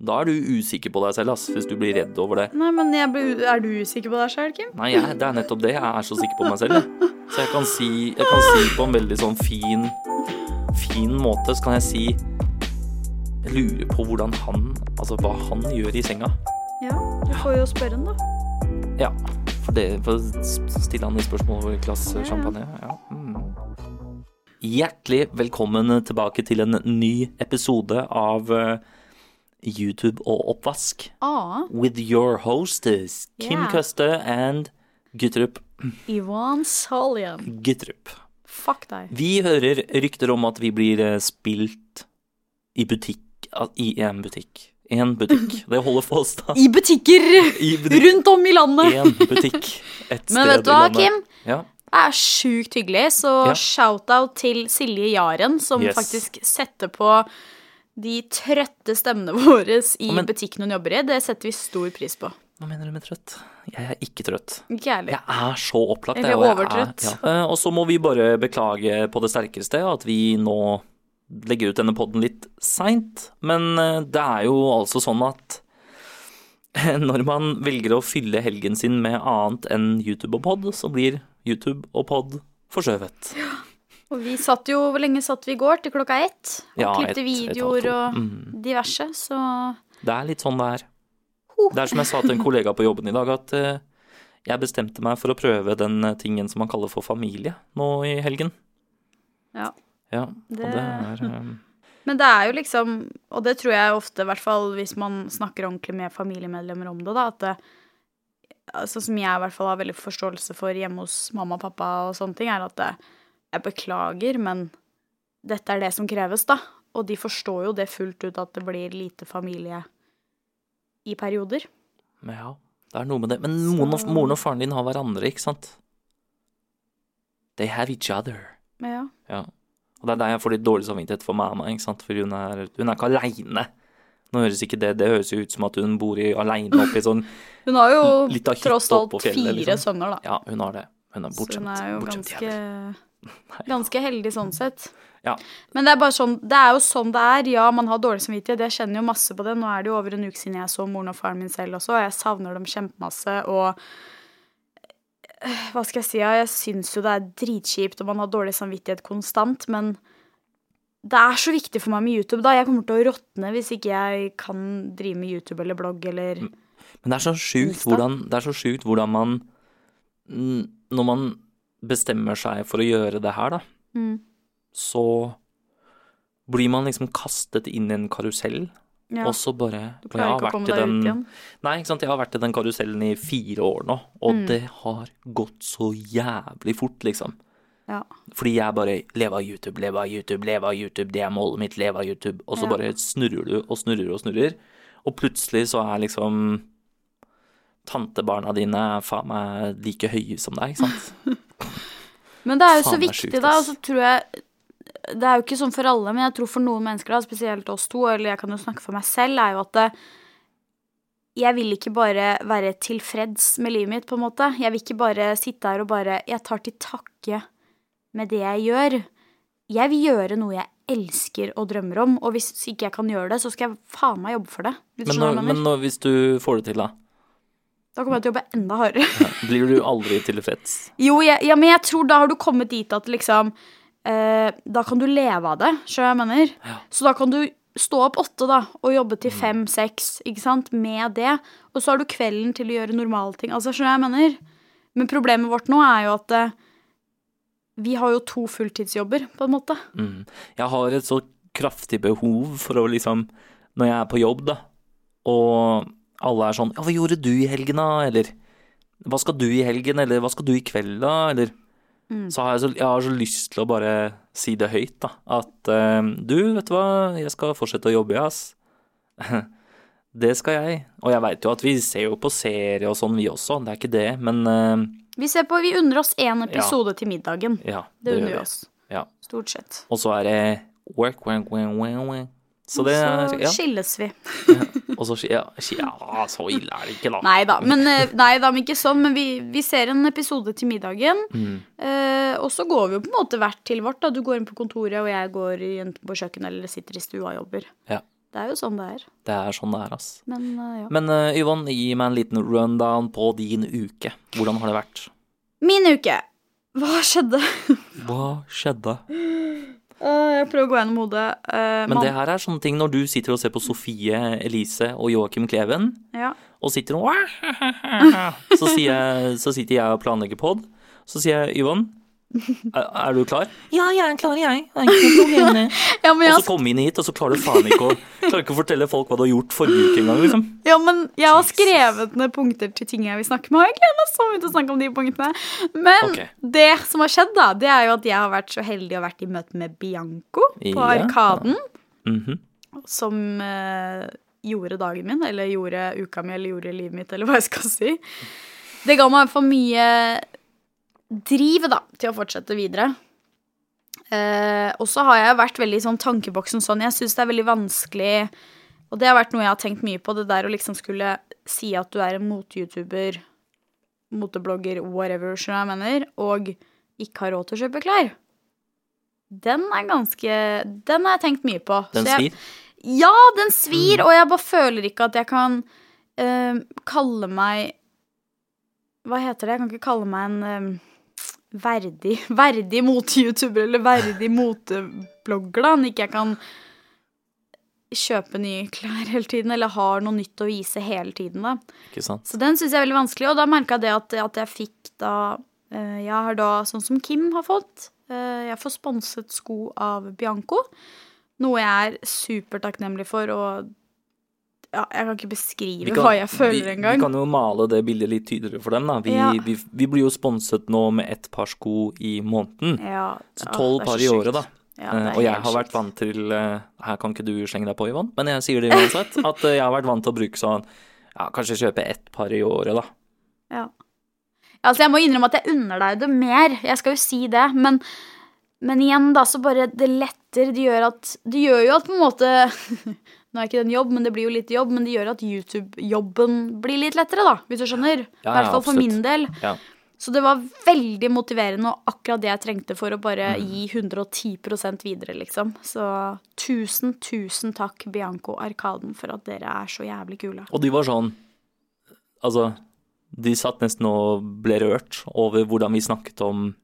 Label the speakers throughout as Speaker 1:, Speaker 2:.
Speaker 1: Da er du usikker på deg selv, ass, hvis du blir redd over det.
Speaker 2: Nei, men jeg ble, Er du usikker på deg sjøl, Kim?
Speaker 1: Nei, jeg, det er nettopp det. Jeg er så sikker på meg selv. Jeg. Så jeg kan, si, jeg kan si på en veldig sånn fin, fin måte, så kan jeg si Jeg lurer på hvordan han Altså hva han gjør i senga.
Speaker 2: Ja, du får jo spørre han, da.
Speaker 1: Ja. For, det, for å s- stille han et spørsmål over et glass eh,
Speaker 2: Ja, ja.
Speaker 1: champagne. Ja. Mm. Hjertelig velkommen tilbake til en ny episode av eh, YouTube og oppvask.
Speaker 2: A.
Speaker 1: With your hostess Kim
Speaker 2: Yeah.
Speaker 1: Køste and Gutrup
Speaker 2: Ivan Soljan.
Speaker 1: Gutrup.
Speaker 2: Fuck deg.
Speaker 1: Vi hører rykter om at vi blir eh, spilt i butikk al- I en butikk. En butikk. Det holder for oss, da.
Speaker 2: I butikker
Speaker 1: I butikk.
Speaker 2: rundt om i landet.
Speaker 1: En butikk. Et sted
Speaker 2: Men vet du
Speaker 1: i
Speaker 2: hva,
Speaker 1: landet.
Speaker 2: Kim?
Speaker 1: Ja.
Speaker 2: Det er sjukt hyggelig, så
Speaker 1: Ja.
Speaker 2: shout-out til Silje Jaren, som
Speaker 1: Yes.
Speaker 2: faktisk setter på de trøtte stemmene våre i
Speaker 1: Å, men-
Speaker 2: butikken hun jobber i. Det setter vi stor pris på.
Speaker 1: Hva mener du med trøtt? Jeg er ikke trøtt.
Speaker 2: Ikke jeg heller.
Speaker 1: Jeg er så opplagt. jeg,
Speaker 2: Eller
Speaker 1: og jeg er-
Speaker 2: overtrøtt.
Speaker 1: ja. Eh, Og så må vi bare beklage på det sterkeste at vi nå legger ut denne podden litt seint. Men eh, det er jo altså sånn at når man velger å fylle helgen sin med annet enn YouTube og pod, så blir YouTube og pod forskjøvet.
Speaker 2: Og vi satt jo, Hvor lenge satt vi i går? Til klokka ett? Og
Speaker 1: Ja, ett-
Speaker 2: klippte
Speaker 1: ett
Speaker 2: videoer
Speaker 1: halvt år.
Speaker 2: og
Speaker 1: Mm.
Speaker 2: diverse, så
Speaker 1: Det er litt sånn det er.
Speaker 2: Ho.
Speaker 1: Det er som jeg sa til en kollega på jobben i dag, at eh, jeg bestemte meg for å prøve den eh, tingen som man kaller for familie nå i helgen.
Speaker 2: Ja.
Speaker 1: Ja, og det
Speaker 2: Det-
Speaker 1: er eh,
Speaker 2: Men det er jo liksom, og det tror jeg ofte, i hvert fall hvis man snakker ordentlig med familiemedlemmer om det, da, at det, sånn som jeg i hvert fall har veldig forståelse for hjemme hos mamma og pappa og sånne ting, er at det, jeg beklager, men dette er det som kreves, da. Og de forstår jo det fullt ut at det blir lite familie i perioder.
Speaker 1: Men ja, det er noe med det. Men moren og,
Speaker 2: Så-
Speaker 1: moren og faren din har hverandre, ikke sant? They have each other.
Speaker 2: Men ja.
Speaker 1: Ja. Og det er der jeg får litt dårlig samvittighet for mamma, ikke sant? For hun er, hun er ikke aleine. Nå høres ikke det, det høres jo ut som at hun bor i aleine oppi sånn
Speaker 2: Hun har jo
Speaker 1: Litt av hytta
Speaker 2: tross alt
Speaker 1: oppå fjellet,
Speaker 2: fire
Speaker 1: liksom.
Speaker 2: sønner, da.
Speaker 1: Ja, hun har det. Hun er
Speaker 2: Så
Speaker 1: bortskjemt.
Speaker 2: hun er jo
Speaker 1: bortskjemt
Speaker 2: ganske,
Speaker 1: jævel.
Speaker 2: ganske heldig sånn sett.
Speaker 1: Ja.
Speaker 2: Men det er bare sånn, det er jo sånn det er. Ja, man har dårlig samvittighet. Jeg kjenner jo masse på det. Nå er det jo over en uke siden jeg så moren og faren min selv også, og jeg savner dem kjempemasse. Og eh, hva skal jeg si? ja, Jeg syns jo det er dritkjipt, og man har dårlig samvittighet konstant, men det er så viktig for meg med YouTube, da. Jeg kommer til å råtne hvis ikke jeg kan drive med YouTube eller blogg eller
Speaker 1: Mm. Men det er så sjukt
Speaker 2: Insta.
Speaker 1: hvordan, det er så sjukt hvordan man n- Når man bestemmer seg for å gjøre det her, da,
Speaker 2: Mm.
Speaker 1: så blir man liksom kastet inn i en karusell,
Speaker 2: ja.
Speaker 1: og så bare
Speaker 2: Du
Speaker 1: og jeg
Speaker 2: klarer
Speaker 1: har
Speaker 2: ikke å
Speaker 1: vært
Speaker 2: komme
Speaker 1: i
Speaker 2: deg
Speaker 1: den-
Speaker 2: ut igjen.
Speaker 1: Nei, ikke sant. Jeg har vært i den karusellen i fire år nå, og
Speaker 2: Mm.
Speaker 1: det har gått så jævlig fort, liksom.
Speaker 2: Ja.
Speaker 1: Fordi jeg bare leve av YouTube, leve av YouTube, leve av YouTube, det er målet mitt, leve av YouTube. Og så
Speaker 2: Ja.
Speaker 1: bare snurrer du og snurrer og snurrer, og plutselig så er liksom tantebarna dine er faen meg like høye som deg, ikke sant?
Speaker 2: Men det er jo
Speaker 1: Faen,
Speaker 2: så
Speaker 1: det er
Speaker 2: viktig,
Speaker 1: sjukt,
Speaker 2: da. Og
Speaker 1: ass.
Speaker 2: så tror jeg Det er jo ikke sånn for alle, men jeg tror for noen mennesker, da, spesielt oss to, eller jeg kan jo snakke for meg selv, er jo at det, jeg vil ikke bare være tilfreds med livet mitt, på en måte. Jeg vil ikke bare sitte her og bare Jeg tar til takke med det jeg gjør. Jeg vil gjøre noe jeg elsker og drømmer om, og hvis ikke jeg kan gjøre det, så skal jeg faen meg jobbe for det. Hvis du
Speaker 1: Men, når,
Speaker 2: skjønner hva jeg
Speaker 1: men
Speaker 2: mener.
Speaker 1: når, hvis du får det til, da,
Speaker 2: Da kommer jeg til å jobbe enda hardere.
Speaker 1: blir du aldri tilfreds?
Speaker 2: Jo, jeg, ja, men jeg tror da har du kommet dit at liksom eh, Da kan du leve av det, skjønner du hva jeg mener?
Speaker 1: Ja. Mm.
Speaker 2: Så da kan du stå opp åtte da, og jobbe til fem-seks, ikke sant, med det. Og så har du kvelden til å gjøre normale ting. Altså, skjønner du hva jeg mener? Men problemet vårt nå er jo at eh, vi har jo to fulltidsjobber, på en måte.
Speaker 1: Mm. Jeg har et så kraftig behov for å liksom Når jeg er på jobb, da, og alle er sånn Ja, hva gjorde du i helgen, da? Eller Hva skal du i helgen? Eller hva skal du i kveld, da? Eller
Speaker 2: Mm.
Speaker 1: Så har jeg så, jeg har så lyst til å bare si det høyt, da. At eh, du, vet du hva, jeg skal fortsette å jobbe, jeg, ass. det skal jeg. Og jeg veit jo at vi ser jo på serie og sånn, vi også. Det er ikke det, men eh,
Speaker 2: Vi ser på, vi unner oss én episode til middagen.
Speaker 1: ja.
Speaker 2: Det
Speaker 1: gjør
Speaker 2: unner vi
Speaker 1: vi.
Speaker 2: oss.
Speaker 1: Ja.
Speaker 2: Stort sett.
Speaker 1: Og så er det work, work, work, work, work. Så det
Speaker 2: så
Speaker 1: er ja.
Speaker 2: skilles vi.
Speaker 1: Og så sier jeg sier jeg, ja, så ille er det ikke, da.
Speaker 2: Nei da, men, eh, nei da, men ikke sånn. Men vi, vi ser en episode til middagen.
Speaker 1: Mm.
Speaker 2: Eh, og så går vi jo på en måte hvert til vårt. da Du går inn på kontoret, og jeg går enten på kjøkkenet eller sitter i stua og jobber.
Speaker 1: Ja.
Speaker 2: Det er jo sånn det er.
Speaker 1: Det er sånn det er, ass.
Speaker 2: Men eh, ja.
Speaker 1: Men eh, Yvonne, gi meg en liten rundown på din uke. Hvordan har det vært?
Speaker 2: Min uke! Hva skjedde?
Speaker 1: Hva skjedde?
Speaker 2: Åh, jeg prøver å gå gjennom hodet. Eh,
Speaker 1: Men
Speaker 2: mann-
Speaker 1: det her er sånne ting når du sitter og ser på Sofie Elise og Joakim Kleven,
Speaker 2: ja.
Speaker 1: og sitter og så, sier jeg, så sitter jeg og planlegger pod. Så sier jeg Yvonne, er, er du klar? Ja, jeg er klar, jeg. Det er ikke noe problem. det.
Speaker 2: ja, men jeg
Speaker 1: Og
Speaker 2: har
Speaker 1: så kommer vi inn hit, og så klarer du faen ikke å, klarer ikke å fortelle folk hva du har gjort forrige uke engang, liksom.
Speaker 2: Ja, men jeg har
Speaker 1: Jesus.
Speaker 2: skrevet ned punkter til ting jeg vil snakke med. og Jeg gleder meg så mye til å snakke om de punktene. Men
Speaker 1: Ok.
Speaker 2: det som har skjedd, da, det er jo at jeg har vært så heldig og vært i møte med Bianco på
Speaker 1: Ja.
Speaker 2: Arkaden.
Speaker 1: Mhm.
Speaker 2: Som eh, gjorde dagen min, eller gjorde uka mi, eller gjorde livet mitt, eller hva jeg skal si. Det ga meg for mye driv, da, til å fortsette videre. Eh, og så har jeg vært veldig i sånn tankeboksen sånn. Jeg syns det er veldig vanskelig Og det har vært noe jeg har tenkt mye på, det der å liksom skulle si at du er en mote-YouTuber, moteblogger, whatever, skjønner du hva jeg mener, og ikke har råd til å kjøpe klær. Den er ganske Den har jeg tenkt mye på.
Speaker 1: Den
Speaker 2: så jeg,
Speaker 1: svir.
Speaker 2: ja, den svir, og jeg bare føler ikke at jeg kan eh, kalle meg Hva heter det? Jeg kan ikke kalle meg en eh, verdig Verdig mote-youtuber eller verdig moteblogger, da. Når ikke jeg kan kjøpe nye klær hele tiden, eller har noe nytt å vise hele tiden, da.
Speaker 1: Ikke sant.
Speaker 2: Så den syns jeg er veldig vanskelig, og da merka jeg det at, at jeg fikk da eh, Jeg har da, sånn som Kim har fått eh, Jeg får sponset sko av Bianco. Noe jeg er supertakknemlig for, og ja, jeg kan ikke beskrive
Speaker 1: Vi kan-
Speaker 2: hva jeg føler
Speaker 1: vi- Vi
Speaker 2: engang.
Speaker 1: kan jo male det bildet litt tydeligere for dem, da. Vi,
Speaker 2: Ja.
Speaker 1: vi, vi blir jo sponset nå med ett par sko i måneden.
Speaker 2: Ja,
Speaker 1: Så
Speaker 2: ja,
Speaker 1: tolv
Speaker 2: det er så
Speaker 1: par i
Speaker 2: sjukt.
Speaker 1: året, da.
Speaker 2: Ja, det er
Speaker 1: Eh, og jeg
Speaker 2: helt
Speaker 1: har vært
Speaker 2: sjukt.
Speaker 1: vant til eh, Her kan ikke du slenge deg på, Yvonne, men jeg sier det uansett. At eh, jeg har vært vant til å bruke sånn Ja, kanskje kjøpe ett par i året, da.
Speaker 2: Ja. Altså, jeg må innrømme at jeg unner deg det mer. Jeg skal jo si det, men, men igjen, da, så bare det letter. Det gjør at Det gjør jo at på en måte Nå er ikke det en jobb, men det blir jo litt jobb. Men det gjør at YouTube-jobben blir litt lettere, da, hvis du skjønner.
Speaker 1: Ja,
Speaker 2: I
Speaker 1: ja,
Speaker 2: hvert fall for
Speaker 1: absolutt.
Speaker 2: min del.
Speaker 1: Ja.
Speaker 2: Så det var veldig motiverende og akkurat det jeg trengte for å bare
Speaker 1: Mm.
Speaker 2: gi 110 videre, liksom. Så tusen, tusen takk, Bianco Arkaden, for at dere er så jævlig kule.
Speaker 1: Og de var sånn Altså, de satt nesten og ble rørt over hvordan vi snakket om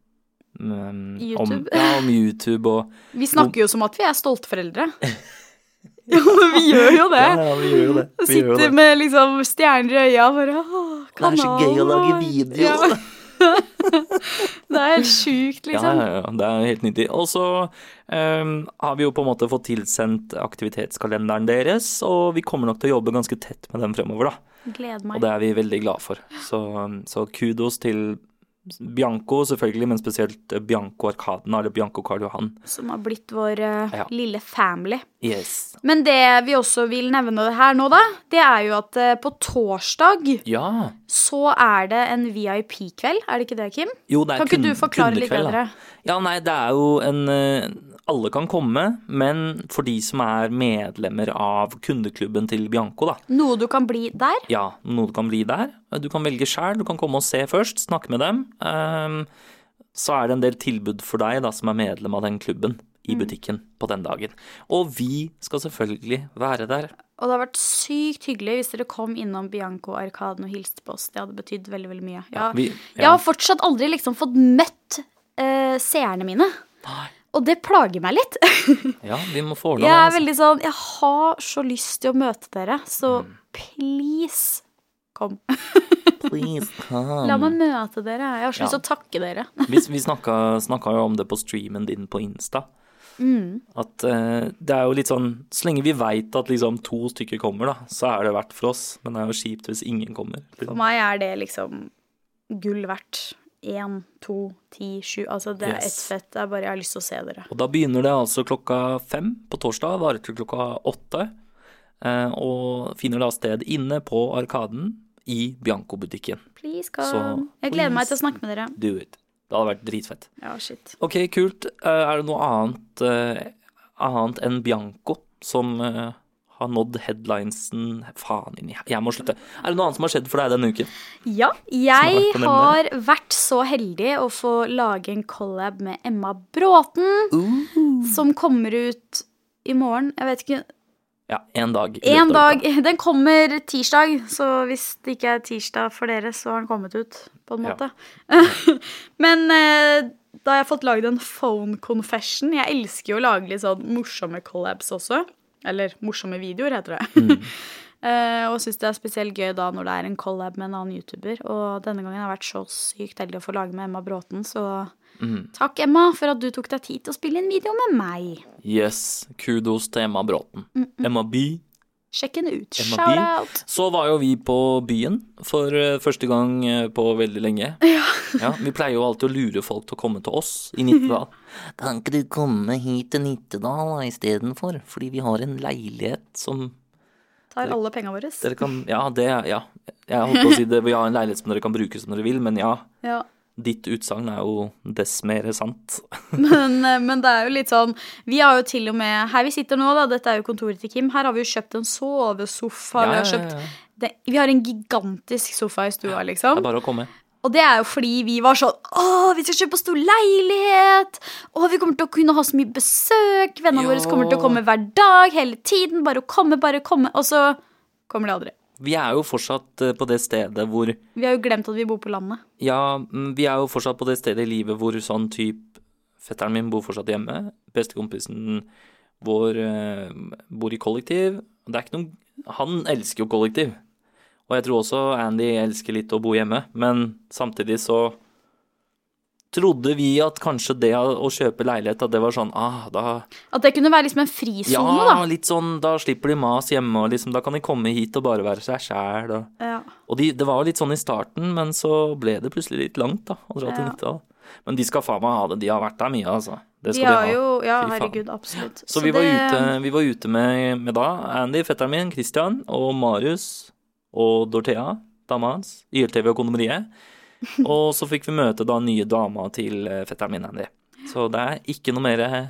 Speaker 1: mm, Om,
Speaker 2: YouTube.
Speaker 1: ja, om YouTube og
Speaker 2: Vi snakker jo som at vi er stolte foreldre. Jo, men vi gjør jo det.
Speaker 1: Ja, ja, vi gjør jo det. Vi gjør jo
Speaker 2: Sitter
Speaker 1: det.
Speaker 2: med liksom stjerner i øya og bare Å,
Speaker 1: Det er
Speaker 2: kanalen
Speaker 1: så gøy å lage
Speaker 2: vår».
Speaker 1: video.
Speaker 2: Ja. Det er helt sjukt, liksom.
Speaker 1: Ja, ja, ja, det er helt nydelig. Og så ehm, har vi jo på en måte fått tilsendt aktivitetskalenderen deres, og vi kommer nok til å jobbe ganske tett med den fremover, da.
Speaker 2: Gleder
Speaker 1: Og
Speaker 2: meg.
Speaker 1: det er vi veldig glad for. Så, så kudos til Bianco, selvfølgelig, men spesielt Bianco Arkadena, eller Bianco Karl Johan.
Speaker 2: Som har blitt vår eh,
Speaker 1: Ja.
Speaker 2: lille family.
Speaker 1: Yes.
Speaker 2: Men det vi også vil nevne her nå, da, det er jo at eh, på torsdag
Speaker 1: Ja.
Speaker 2: så er det en VIP-kveld. Er det ikke det, Kim?
Speaker 1: Jo, det er
Speaker 2: Kan ikke du
Speaker 1: kun-
Speaker 2: forklare litt
Speaker 1: kundekveld, da.
Speaker 2: bedre?
Speaker 1: Ja, nei, det er jo en eh, Alle kan komme, men for de som er medlemmer av kundeklubben til Bianco, da.
Speaker 2: Noe du kan bli der?
Speaker 1: Ja, noe du kan bli der. Eh, Du kan velge sjøl, du kan komme og se først, snakke med dem. Ehm, så er det en del tilbud for deg da, som er medlem av den klubben, i
Speaker 2: Mm.
Speaker 1: butikken på den dagen. Og vi skal selvfølgelig være der.
Speaker 2: Og det har vært sykt hyggelig hvis dere kom innom Bianco Arkaden og hilste på oss. Det hadde betydd veldig veldig mye. Jeg,
Speaker 1: vi-
Speaker 2: jeg
Speaker 1: ja.
Speaker 2: har fortsatt aldri liksom fått møtt eh, seerne mine.
Speaker 1: Nei.
Speaker 2: Og det plager meg litt.
Speaker 1: Ja, vi må få altså. ordna
Speaker 2: Jeg er
Speaker 1: det.
Speaker 2: veldig sånn Jeg har så lyst til å møte dere, så
Speaker 1: Mm.
Speaker 2: please kom.
Speaker 1: Altså. Please come.
Speaker 2: La meg møte dere. Jeg har så
Speaker 1: Ja.
Speaker 2: lyst til å takke dere.
Speaker 1: Vi, vi snakka, snakka jo om det på streamen din på Insta.
Speaker 2: Mm.
Speaker 1: At eh, det er jo litt sånn Så lenge vi veit at liksom to stykker kommer, da, så er det verdt for oss. Men det er jo kjipt hvis ingen kommer.
Speaker 2: For meg er det liksom gull verdt. Én, to, ti, sju. Altså, det er ett
Speaker 1: Yes.
Speaker 2: fett. Det er bare jeg har lyst til å se dere.
Speaker 1: Og da begynner det altså klokka fem på torsdag, varer til klokka åtte. eh, Og finner da sted inne på Arkaden i Bianco-butikken.
Speaker 2: Please
Speaker 1: Så,
Speaker 2: kom. Jeg gleder meg
Speaker 1: please.
Speaker 2: til å snakke med dere.
Speaker 1: Do it. Det hadde vært dritfett.
Speaker 2: Ja, shit.
Speaker 1: Ok, kult. Eh, Er det noe annet, eh, annet enn Bianco som eh, har nådd headlinesen Faen inni Jeg må slutte. Er det noe annet som har skjedd for deg denne uken?
Speaker 2: Ja,
Speaker 1: Som
Speaker 2: jeg
Speaker 1: har vært på nevne.
Speaker 2: har vært så heldig å få lage en collab med Emma Bråten, som kommer ut i morgen. Jeg vet ikke
Speaker 1: Ja, én dag. i løpet av
Speaker 2: En
Speaker 1: uka.
Speaker 2: dag Den kommer tirsdag, så hvis det ikke er tirsdag for dere, så har den kommet ut, på en
Speaker 1: Ja.
Speaker 2: måte. Men eh, da har jeg fått lagd en phone confession. Jeg elsker jo å lage litt sånn morsomme collabs også. Eller morsomme videoer, heter det.
Speaker 1: Mm.
Speaker 2: Eh, og syns det er spesielt gøy da når det er en collab med en annen YouTuber. Og denne gangen har jeg vært så sykt heldig å få lage med Emma Bråten, så
Speaker 1: Mm.
Speaker 2: takk, Emma, for at du tok deg tid til å spille en video med meg.
Speaker 1: Yes. Kudos til Emma Bråten. Emma By.
Speaker 2: Sjekk henne ut.
Speaker 1: Emma By.
Speaker 2: Shout-out.
Speaker 1: Så var jo vi på byen for eh, første gang eh, på veldig lenge. Ja, vi pleier jo alltid å lure folk til å komme til oss i Nittedal. Kan ikke du komme hit til Nittedal da, istedenfor? Fordi vi har en leilighet som
Speaker 2: Tar alle penga våre.
Speaker 1: dere kan Ja, det Ja. Jeg holdt på å si det. Vi har en leilighet som dere kan bruke som dere vil, men ja.
Speaker 2: Ja.
Speaker 1: Ditt utsagn er jo dess mer sant.
Speaker 2: Men, eh, men det er jo litt sånn Vi har jo til og med Her vi sitter nå, da, dette er jo kontoret til Kim, her har vi jo kjøpt en sovesofa.
Speaker 1: Ja, ja,
Speaker 2: vi, har
Speaker 1: ja,
Speaker 2: kjøpt,
Speaker 1: ja.
Speaker 2: det, vi har en gigantisk sofa i stua,
Speaker 1: Det
Speaker 2: liksom.
Speaker 1: er bare å komme.
Speaker 2: Og det er jo fordi vi var sånn Å, vi skal kjøpe oss stor leilighet! Å, vi kommer til å kunne ha så mye besøk! Vennene
Speaker 1: Ja.
Speaker 2: våre kommer til å komme hver dag, hele tiden. Bare å komme, bare å komme. Og så kommer de aldri.
Speaker 1: Vi er jo fortsatt eh, på det stedet hvor
Speaker 2: Vi har jo glemt at vi bor på landet.
Speaker 1: Ja, mm, vi er jo fortsatt på det stedet i livet hvor sånn type Fetteren min bor fortsatt hjemme. Bestekompisen vår eh, bor i kollektiv. Det er ikke noen Han elsker jo kollektiv. Og jeg tror også Andy elsker litt å bo hjemme, men samtidig så trodde vi at kanskje det å kjøpe leilighet, at det var sånn ah, da
Speaker 2: At det kunne være liksom en frisone,
Speaker 1: Ja, litt sånn, da slipper de mas hjemme, og liksom da kan de komme hit og bare være seg sjæl og
Speaker 2: da. Ja.
Speaker 1: og de, det var jo litt sånn i starten, men så ble det plutselig litt langt, da. Å dra til
Speaker 2: Ja.
Speaker 1: Nittedal. Men de skal faen meg ha det. De har vært der mye, altså. Det
Speaker 2: De
Speaker 1: skal de,
Speaker 2: har
Speaker 1: ha.
Speaker 2: jo Ja,
Speaker 1: Fy faen.
Speaker 2: herregud, absolutt.
Speaker 1: Så, vi, var ute, vi var ute med, med da Andy, fetteren min, Christian og Marius og Dorthea, dama hans, i YLTV og Kondomeriet. Og så fikk vi møte da nye dama til eh, fetteren min, Andy. Så det er ikke noe mer eh,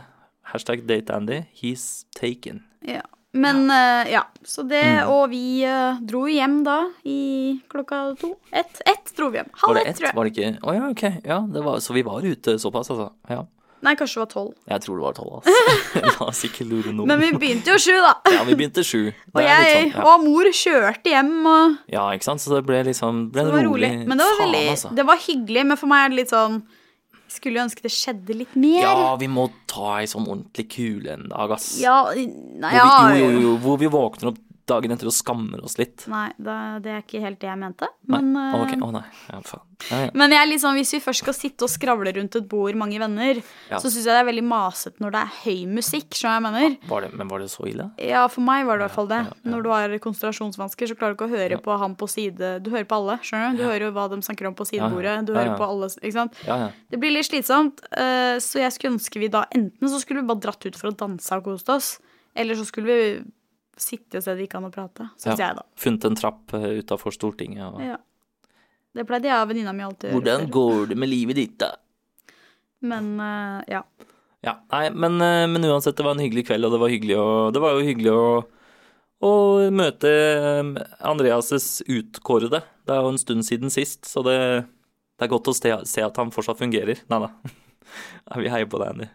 Speaker 1: hashtag date Andy. He's taken.
Speaker 2: Ja. Men eh, ja, så det
Speaker 1: Mm.
Speaker 2: Og vi eh, dro jo hjem da i klokka to. Ett. Ett dro vi hjem.
Speaker 1: Var
Speaker 2: Halv
Speaker 1: det
Speaker 2: ett,
Speaker 1: ett?
Speaker 2: tror jeg.
Speaker 1: Var det ikke Å ja, ok. Ja, det var, så vi var ute såpass, altså. Ja.
Speaker 2: Nei, kanskje det var tolv.
Speaker 1: Jeg tror det var tolv, altså. La oss ikke lure noen.
Speaker 2: Men vi begynte jo sju, da.
Speaker 1: Ja, vi begynte sju.
Speaker 2: Og
Speaker 1: Det er
Speaker 2: jeg
Speaker 1: litt sånn, ja.
Speaker 2: og mor kjørte hjem, og
Speaker 1: ja, ikke sant? Så det ble liksom ble
Speaker 2: det var rolig. Men det var veldig
Speaker 1: Faen, altså.
Speaker 2: Det var hyggelig, men for meg er det litt sånn Skulle jo ønske det skjedde litt mer.
Speaker 1: Ja, vi må ta ei sånn ordentlig kule en dag, ass.
Speaker 2: ja Nei, ja.
Speaker 1: Hvor vi, jo, jo, jo, hvor vi våkner opp dagen etter og skammer oss litt.
Speaker 2: Nei, da, det er ikke helt det jeg mente.
Speaker 1: Nei,
Speaker 2: Men
Speaker 1: Å,
Speaker 2: eh,
Speaker 1: ok. Å, nei. Ja, faen. Ja, ja.
Speaker 2: Men jeg er litt sånn, hvis vi først skal sitte og skravle rundt et bord, mange venner,
Speaker 1: Ja.
Speaker 2: så syns jeg det er veldig masete når det er høy musikk. skjønner du hva jeg mener?
Speaker 1: Var det, men var det så ille?
Speaker 2: Ja, for meg var det i hvert fall det. Når du har konsentrasjonsvansker, så klarer du ikke å høre på han på side Du hører på alle, skjønner du? Du hører jo hva de snakker om på sidebordet. Du
Speaker 1: Ja, ja.
Speaker 2: hører på alle, ikke sant?
Speaker 1: Ja, ja.
Speaker 2: Det blir litt slitsomt, eh, så jeg skulle ønske vi da enten så skulle vi bare dratt ut for å danse og kost oss, eller så skulle vi sitte et sted det gikk an å prate, syns
Speaker 1: Ja.
Speaker 2: jeg, da.
Speaker 1: Funnet en trapp eh, utafor Stortinget og
Speaker 2: Ja. Det pleide jeg og venninna mi alltid å gjøre.
Speaker 1: Hvordan
Speaker 2: før.
Speaker 1: går det med livet ditt, da?
Speaker 2: Men eh, ja.
Speaker 1: Ja, nei, men, eh, men uansett, det var en hyggelig kveld, og det var, hyggelig å, det var jo hyggelig å, å møte eh, Andreas' utkårede. Det er jo en stund siden sist, så det, det er godt å se, se at han fortsatt fungerer. Nei da. Nei, Vi heier på deg, Andy.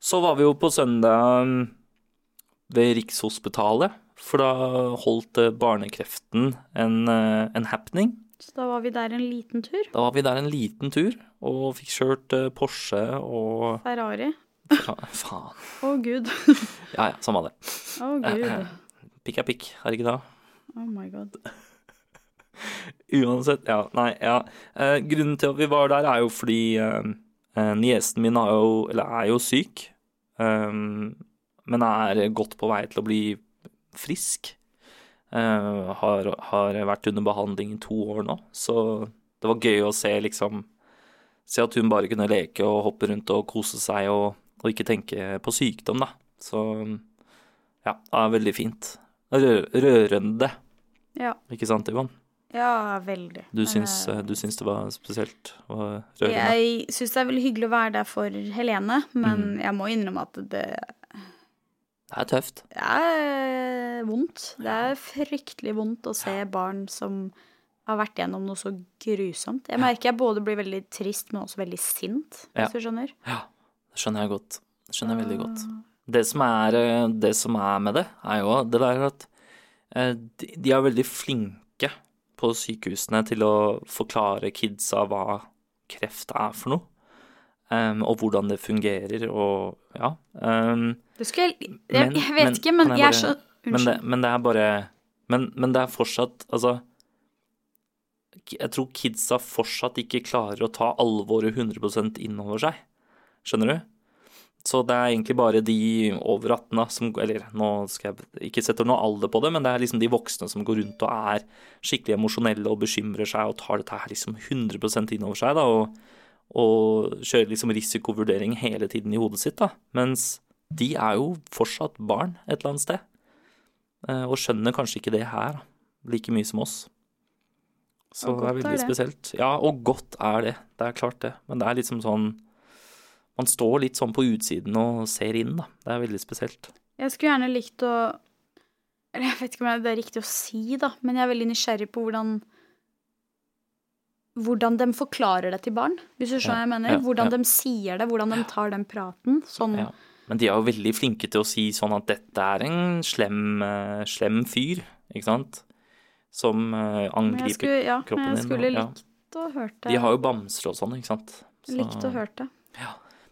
Speaker 1: Så var vi jo på søndag mm, ved Rikshospitalet, for da holdt eh, Barnekreften en, eh, en happening.
Speaker 2: Så da var vi der en liten tur.
Speaker 1: Da var vi der en liten tur, og fikk kjørt eh, Porsche og
Speaker 2: Ferrari.
Speaker 1: Fa- Faen.
Speaker 2: Å, gud.
Speaker 1: Ja ja, samme det.
Speaker 2: Å, gud.
Speaker 1: Pikk er pikk, er det ikke det?
Speaker 2: Oh my god.
Speaker 1: Uansett, ja. Nei, ja. Eh, grunnen til at vi var der, er jo fordi eh, eh, niesen min er jo, eller er jo syk. Um, men er godt på vei til å bli frisk. Eh, har, har vært under behandling i to år nå, så det var gøy å se liksom Se at hun bare kunne leke og hoppe rundt og kose seg og, og ikke tenke på sykdom, da. Så ja, det er veldig fint. Rø rørende,
Speaker 2: Ja.
Speaker 1: ikke sant, Ivan?
Speaker 2: Ja, veldig.
Speaker 1: Du syns, eh, du syns det var spesielt og rørende?
Speaker 2: Jeg syns det er veldig hyggelig å være der for Helene, men
Speaker 1: Mm.
Speaker 2: jeg må innrømme at det
Speaker 1: Det er tøft.
Speaker 2: er vondt. Det er fryktelig vondt å se barn som har vært gjennom noe så grusomt. Jeg merker jeg både blir veldig trist, men også veldig sint,
Speaker 1: Ja.
Speaker 2: hvis du skjønner.
Speaker 1: Det skjønner jeg godt. Det skjønner jeg veldig godt. det som er, eh, det som er med det, er jo det der at eh, de de er veldig flinke på sykehusene til å forklare kidsa hva kreft er for noe. em, og hvordan det fungerer og ja. eh, em,
Speaker 2: Det skulle jeg, jeg,
Speaker 1: Men-
Speaker 2: jeg
Speaker 1: men
Speaker 2: vet ikke, men
Speaker 1: kan jeg
Speaker 2: jeg er så
Speaker 1: bare- men, det,
Speaker 2: Unnskyld.
Speaker 1: men det er bare men, men det er fortsatt Altså k- Jeg tror kidsa fortsatt ikke klarer å ta alvoret 100 innover seg. Skjønner du? Så det er egentlig bare de over 18 da, som Eller nå skal jeg ikke sette noe alder på det, men det er liksom de voksne som går rundt og er skikkelig emosjonelle og bekymrer seg og tar dette her liksom 100 innover seg, da, og, og kjører liksom risikovurdering hele tiden i hodet sitt, da. Mens de er jo fortsatt barn et eller annet sted. Eh, Og skjønner kanskje ikke det her da, like mye som oss. Så det er
Speaker 2: Og godt er
Speaker 1: veldig
Speaker 2: det.
Speaker 1: spesielt. Ja, og godt er det. Det er klart det. Men det er liksom sånn Man står litt sånn på utsiden og ser inn, da. Det er veldig spesielt.
Speaker 2: Jeg skulle gjerne likt å Eller jeg vet ikke om det er riktig å si, da, men jeg er veldig nysgjerrig på hvordan hvordan de forklarer det til barn, hvis du skjønner hva jeg mener.
Speaker 1: ja,
Speaker 2: hvordan
Speaker 1: ja.
Speaker 2: de sier det, hvordan de tar den praten. Sånn,
Speaker 1: Ja. Men de er jo veldig flinke til å si sånn at dette er en slem, eh, slem fyr, ikke sant? Som eh,
Speaker 2: Men jeg
Speaker 1: angriper
Speaker 2: skulle, ja, men
Speaker 1: kroppen
Speaker 2: jeg
Speaker 1: din,
Speaker 2: skulle
Speaker 1: ja.
Speaker 2: likt å hørt det.
Speaker 1: De har sånn- jo bamser og sånn, ikke sant? Så-
Speaker 2: Likt å hørt det.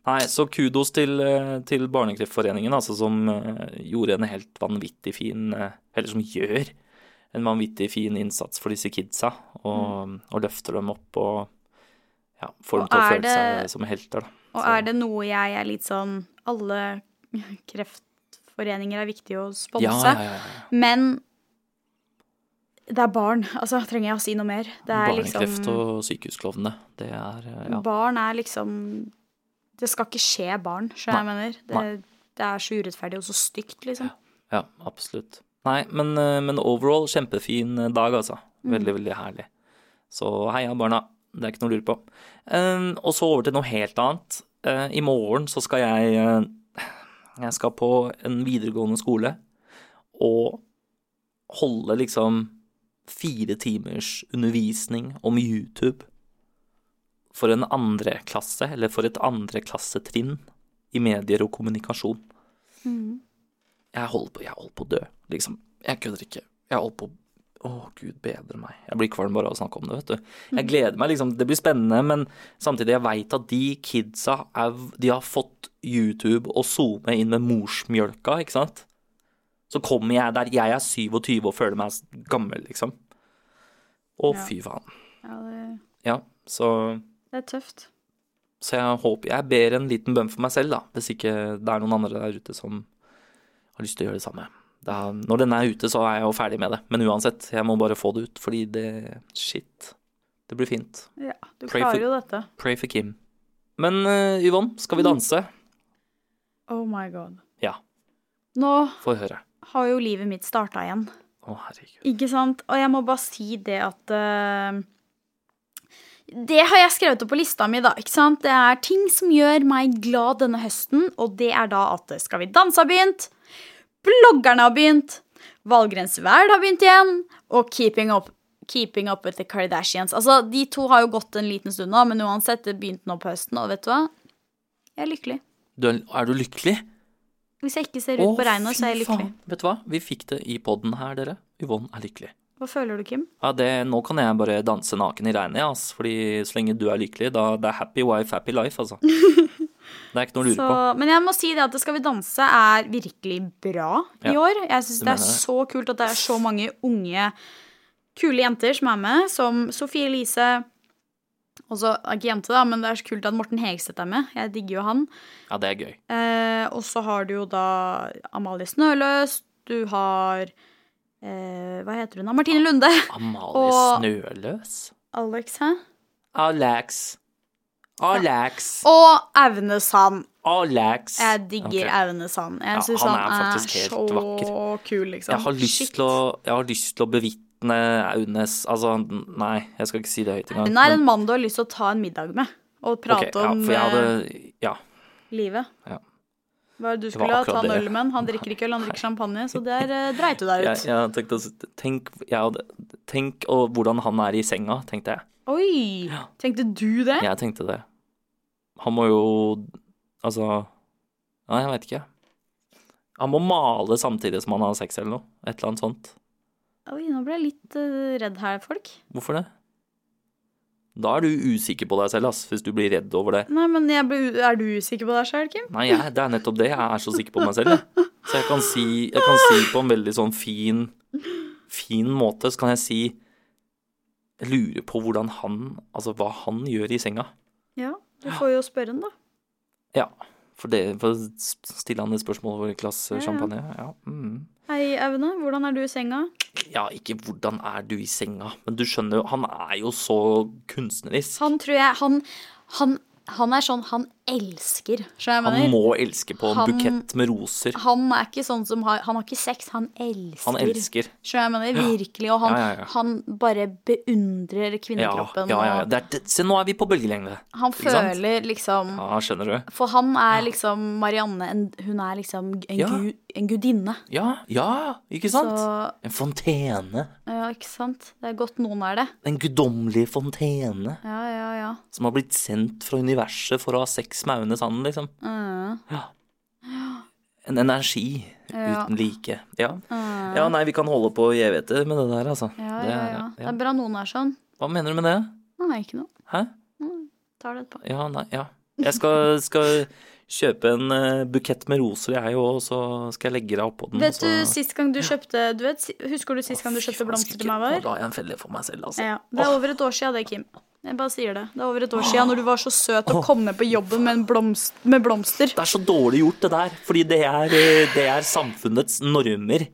Speaker 1: Nei, så kudos til, eh, til Barnekreftforeningen, altså, som eh, gjorde en helt vanvittig fin eh, Eller som gjør en vanvittig fin innsats for disse kidsa, og, og løfter dem opp og ja, får dem
Speaker 2: Mm. Og
Speaker 1: til å
Speaker 2: er
Speaker 1: føle
Speaker 2: det-
Speaker 1: seg som helter, da.
Speaker 2: Og
Speaker 1: Så-
Speaker 2: er det noe jeg er litt sånn Alle kreftforeninger er viktig å sponse,
Speaker 1: Ja, ja, ja, ja.
Speaker 2: men det er barn. Altså, trenger jeg å si noe mer? Det er
Speaker 1: Barnekreft
Speaker 2: liksom
Speaker 1: og sykehusklovnene, det er eh, ja.
Speaker 2: Barn er liksom Det skal ikke skje barn, skjønner jeg jeg
Speaker 1: Nei.
Speaker 2: mener. Det, det er så urettferdig og så stygt, liksom.
Speaker 1: Ja, absolutt. Nei, men, eh, men overall kjempefin dag, altså. Veldig, veldig herlig. Så heia barna. Det er ikke noe å lure på. Eh, og så over til noe helt annet. Eh, I morgen så skal jeg eh, Jeg skal på en videregående skole og holde liksom fire timers undervisning om YouTube for en andre klasse, eller for et andre klassetrinn i medier og kommunikasjon. Jeg holder på, jeg holder på å dø, liksom. Jeg kødder ikke. Jeg holder på å Å, gud bedre meg. Jeg blir kvalm bare av å snakke om det, vet du. Jeg gleder meg, liksom. Det blir spennende, men samtidig, jeg veit at de kidsa er De har fått YouTube og SoMe inn med morsmjølka, ikke sant? Så kommer jeg der jeg er 27 og føler meg gammel, liksom. Å,
Speaker 2: Ja.
Speaker 1: fy faen.
Speaker 2: Ja, det,
Speaker 1: Ja, så
Speaker 2: det er tøft.
Speaker 1: så jeg håper Jeg ber en liten bønn for meg selv, da, hvis ikke det er noen andre der ute som har lyst til å gjøre det samme. Da, når denne er ute, så er jeg jo ferdig med det. Men uansett, jeg må bare få det ut, fordi det Shit. Det blir fint.
Speaker 2: Ja, du
Speaker 1: Pray for-
Speaker 2: klarer jo dette.
Speaker 1: Pray for Kim. Men eh, Yvonne, skal vi
Speaker 2: Mm.
Speaker 1: danse?
Speaker 2: Oh my god.
Speaker 1: Ja,
Speaker 2: Nå
Speaker 1: få høre.
Speaker 2: har jo livet mitt starta igjen.
Speaker 1: Å, herregud.
Speaker 2: Ikke sant? Og jeg må bare si det at eh, Det har jeg skrevet opp på lista mi, da. ikke sant? Det er ting som gjør meg glad denne høsten, og det er da at eh, Skal vi danse har begynt, bloggerne har begynt, Valgrens verd har begynt igjen, og Keeping Up Keeping up with the Kardashians. Altså, De to har jo gått en liten stund nå, men uansett, det begynte nå på høsten, og vet du hva? Jeg er lykkelig.
Speaker 1: Du er, er du lykkelig?
Speaker 2: Hvis jeg ikke ser ut på regnet, så er jeg lykkelig.
Speaker 1: Vet du hva? Vi fikk det i poden her, dere. Yvonne er lykkelig.
Speaker 2: Hva føler du, Kim?
Speaker 1: Ja, det, nå kan jeg bare danse naken i regnet, ja, ass. Fordi så lenge du er lykkelig, da det er happy wife, happy life, altså. Det er ikke noe å lure
Speaker 2: Så,
Speaker 1: på.
Speaker 2: men jeg må si det at Skal vi danse er virkelig bra i
Speaker 1: Ja,
Speaker 2: år. Jeg syns
Speaker 1: det
Speaker 2: det
Speaker 1: mener
Speaker 2: er
Speaker 1: jeg.
Speaker 2: så kult at det er så mange unge, kule jenter som er med, som Sofie Elise. Også, er ikke jente, da, men det er så kult at Morten Hegseth er med. Jeg digger jo han.
Speaker 1: Ja, det er gøy.
Speaker 2: Eh, og så har du jo da Amalie Snøløs. Du har eh, Hva heter hun da? Martine Lunde.
Speaker 1: Amalie
Speaker 2: Og-
Speaker 1: Snøløs?
Speaker 2: Alex, hæ?
Speaker 1: Alex. Alex.
Speaker 2: Og Aune Sand.
Speaker 1: Alex.
Speaker 2: Jeg digger
Speaker 1: Ok.
Speaker 2: Aune Sand. Jeg
Speaker 1: Ja,
Speaker 2: syns
Speaker 1: han
Speaker 2: han,
Speaker 1: er
Speaker 2: er,
Speaker 1: faktisk helt
Speaker 2: så
Speaker 1: vakker.
Speaker 2: kul, liksom.
Speaker 1: Jeg har lyst
Speaker 2: Shit.
Speaker 1: til å Jeg har lyst til å bevitne Aunes Altså, nei, jeg skal ikke si det høyt engang.
Speaker 2: Hun er en mann du har lyst til å ta en middag med. Og
Speaker 1: men-
Speaker 2: prate
Speaker 1: ok, ja,
Speaker 2: om
Speaker 1: for jeg
Speaker 2: eh,
Speaker 1: hadde Ja.
Speaker 2: livet.
Speaker 1: ja.
Speaker 2: Hva er det du
Speaker 1: var
Speaker 2: skulle ha? Ta
Speaker 1: akkurat
Speaker 2: en
Speaker 1: det.
Speaker 2: øl med han? Han drikker ikke øl, han drikker champagne. Så der eh, dreit du deg
Speaker 1: Jeg,
Speaker 2: ut.
Speaker 1: jeg tenkte å s- Tenk, jeg hadde, tenk og hvordan han er i senga, tenkte jeg.
Speaker 2: Oi! Tenkte du det?
Speaker 1: Jeg tenkte det. Han må jo Altså Nei, jeg veit ikke. Han må male samtidig som han har sex eller noe. Et eller annet sånt.
Speaker 2: Oi, nå ble jeg litt eh, redd her, folk.
Speaker 1: Hvorfor det? Da er du usikker på deg selv, ass, hvis du blir redd over det.
Speaker 2: Nei, men jeg ble, u- Er du usikker på deg sjøl, Kim?
Speaker 1: Nei, jeg, det er nettopp det. Jeg er så sikker på meg selv. Jeg. Så jeg kan, si, jeg kan si på en veldig sånn fin, fin måte, så kan jeg si Jeg lurer på hvordan han Altså hva han gjør i senga.
Speaker 2: Ja, du får jo spørre han, da.
Speaker 1: Ja. For det for å stille han et spørsmål over et glass
Speaker 2: Ja, ja.
Speaker 1: champagne. Ja. Mm.
Speaker 2: Hei, Aune, hvordan er du i senga?
Speaker 1: ja, ikke hvordan er du i senga, men du skjønner jo Han er jo så kunstnerisk.
Speaker 2: Han tror jeg Han, han, han er sånn han elsker,
Speaker 1: Han
Speaker 2: skjønner jeg mener.
Speaker 1: må elske på en
Speaker 2: Han-
Speaker 1: bukett med roser.
Speaker 2: Han er ikke sånn som har Han har ikke sex, han elsker.
Speaker 1: Han elsker.
Speaker 2: Skjønner jeg mener, virkelig. Og han,
Speaker 1: Ja, ja, ja.
Speaker 2: han bare beundrer
Speaker 1: Ja, ja,
Speaker 2: kvinnekroppen.
Speaker 1: ja.
Speaker 2: og
Speaker 1: Det er, det, se, nå er vi på bølgelengde.
Speaker 2: Han
Speaker 1: Ikke sant?
Speaker 2: føler liksom
Speaker 1: Ja, skjønner du.
Speaker 2: For han er liksom Marianne en, Hun er liksom en,
Speaker 1: Ja.
Speaker 2: gu, en gudinne.
Speaker 1: Ja, ja, ikke
Speaker 2: Så
Speaker 1: sant? En fontene.
Speaker 2: Ja, ikke sant. Det er godt noen er det.
Speaker 1: Den guddommelige fontene
Speaker 2: Ja, ja, ja.
Speaker 1: som har blitt sendt fra universet for å ha sex med Aune Sand, liksom.
Speaker 2: Mm.
Speaker 1: En energi
Speaker 2: Ja.
Speaker 1: uten like. Ja. ja, nei, vi kan holde på i evigheter med det der, altså.
Speaker 2: Ja,
Speaker 1: Det
Speaker 2: ja,
Speaker 1: er-
Speaker 2: ja. Det
Speaker 1: ja.
Speaker 2: er bra noen er sånn.
Speaker 1: Hva mener du med det?
Speaker 2: Nei, ikke noe.
Speaker 1: Hæ?
Speaker 2: Tar det etterpå.
Speaker 1: Ja, nei, ja. Jeg skal, skal kjøpe en eh, bukett med roser, jeg òg, og så skal jeg legge deg oppå den.
Speaker 2: Vet
Speaker 1: så...
Speaker 2: du sist gang du kjøpte du vet, si- Husker du sist gang du kjøpte blomster til meg, var?
Speaker 1: Da har jeg en felle for meg selv, altså.
Speaker 2: Ja, det er over et år siden det, Kim. Jeg bare sier det. Det er over et år siden når du var så søt og kom ned på jobben med, en blomst, med blomster.
Speaker 1: Det er så dårlig gjort, det der. Fordi det er, eh, det er samfunnets normer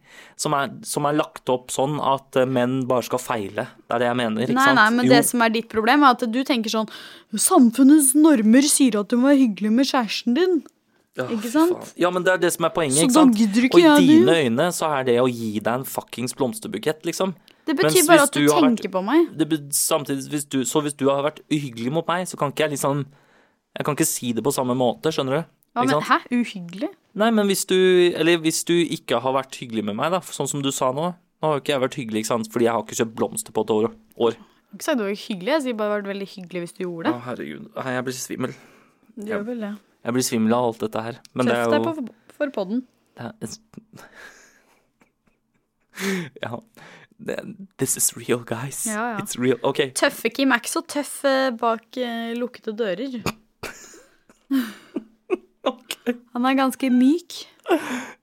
Speaker 1: som er, som er lagt opp sånn at eh, menn bare skal feile. Det er det jeg mener. Ikke
Speaker 2: Nei,
Speaker 1: sant?
Speaker 2: nei, men
Speaker 1: Jo,
Speaker 2: det som er ditt problem, er at du tenker sånn Samfunnets normer sier at du må være hyggelig med kjæresten din.
Speaker 1: ja,
Speaker 2: ikke
Speaker 1: fy
Speaker 2: sant?
Speaker 1: faen. Ja, men det er det som er poenget.
Speaker 2: Så
Speaker 1: ikke
Speaker 2: da
Speaker 1: sant?
Speaker 2: gidder ikke
Speaker 1: Og i
Speaker 2: jeg det.
Speaker 1: dine øyne så er det å gi deg en fuckings blomsterbukett, liksom.
Speaker 2: Det
Speaker 1: Mens
Speaker 2: betyr bare
Speaker 1: hvis
Speaker 2: at du,
Speaker 1: du har vært-
Speaker 2: tenker på meg.
Speaker 1: Det, be- samtidig, hvis du, så hvis du har vært uhyggelig mot meg, så kan ikke jeg liksom Jeg kan ikke si det på samme måte, skjønner du?
Speaker 2: Ja,
Speaker 1: Ikke
Speaker 2: men
Speaker 1: sant?
Speaker 2: hæ? Uhyggelig?
Speaker 1: Nei, men hvis du Eller hvis du ikke har vært hyggelig med meg, da, sånn som du sa nå. Nå har jo ikke jeg vært hyggelig, ikke sant, fordi jeg har ikke kjøpt blomster på et år. år.
Speaker 2: Jeg har ikke sagt det var hyggelig, jeg sier bare det var veldig hyggelig hvis du gjorde det.
Speaker 1: Å, herregud. Nei, Jeg blir svimmel.
Speaker 2: Du gjør vel det.
Speaker 1: Jeg blir svimmel av alt dette her. Men det
Speaker 2: Tøff
Speaker 1: er
Speaker 2: deg
Speaker 1: jo
Speaker 2: på, for podden.
Speaker 1: det er- Ja. Det- This is real, guys.
Speaker 2: Ja, ja.
Speaker 1: It's real. OK.
Speaker 2: Tøffe Kim er ikke så tøff eh, bak eh, lukkede dører.
Speaker 1: Ok.
Speaker 2: Han er ganske myk.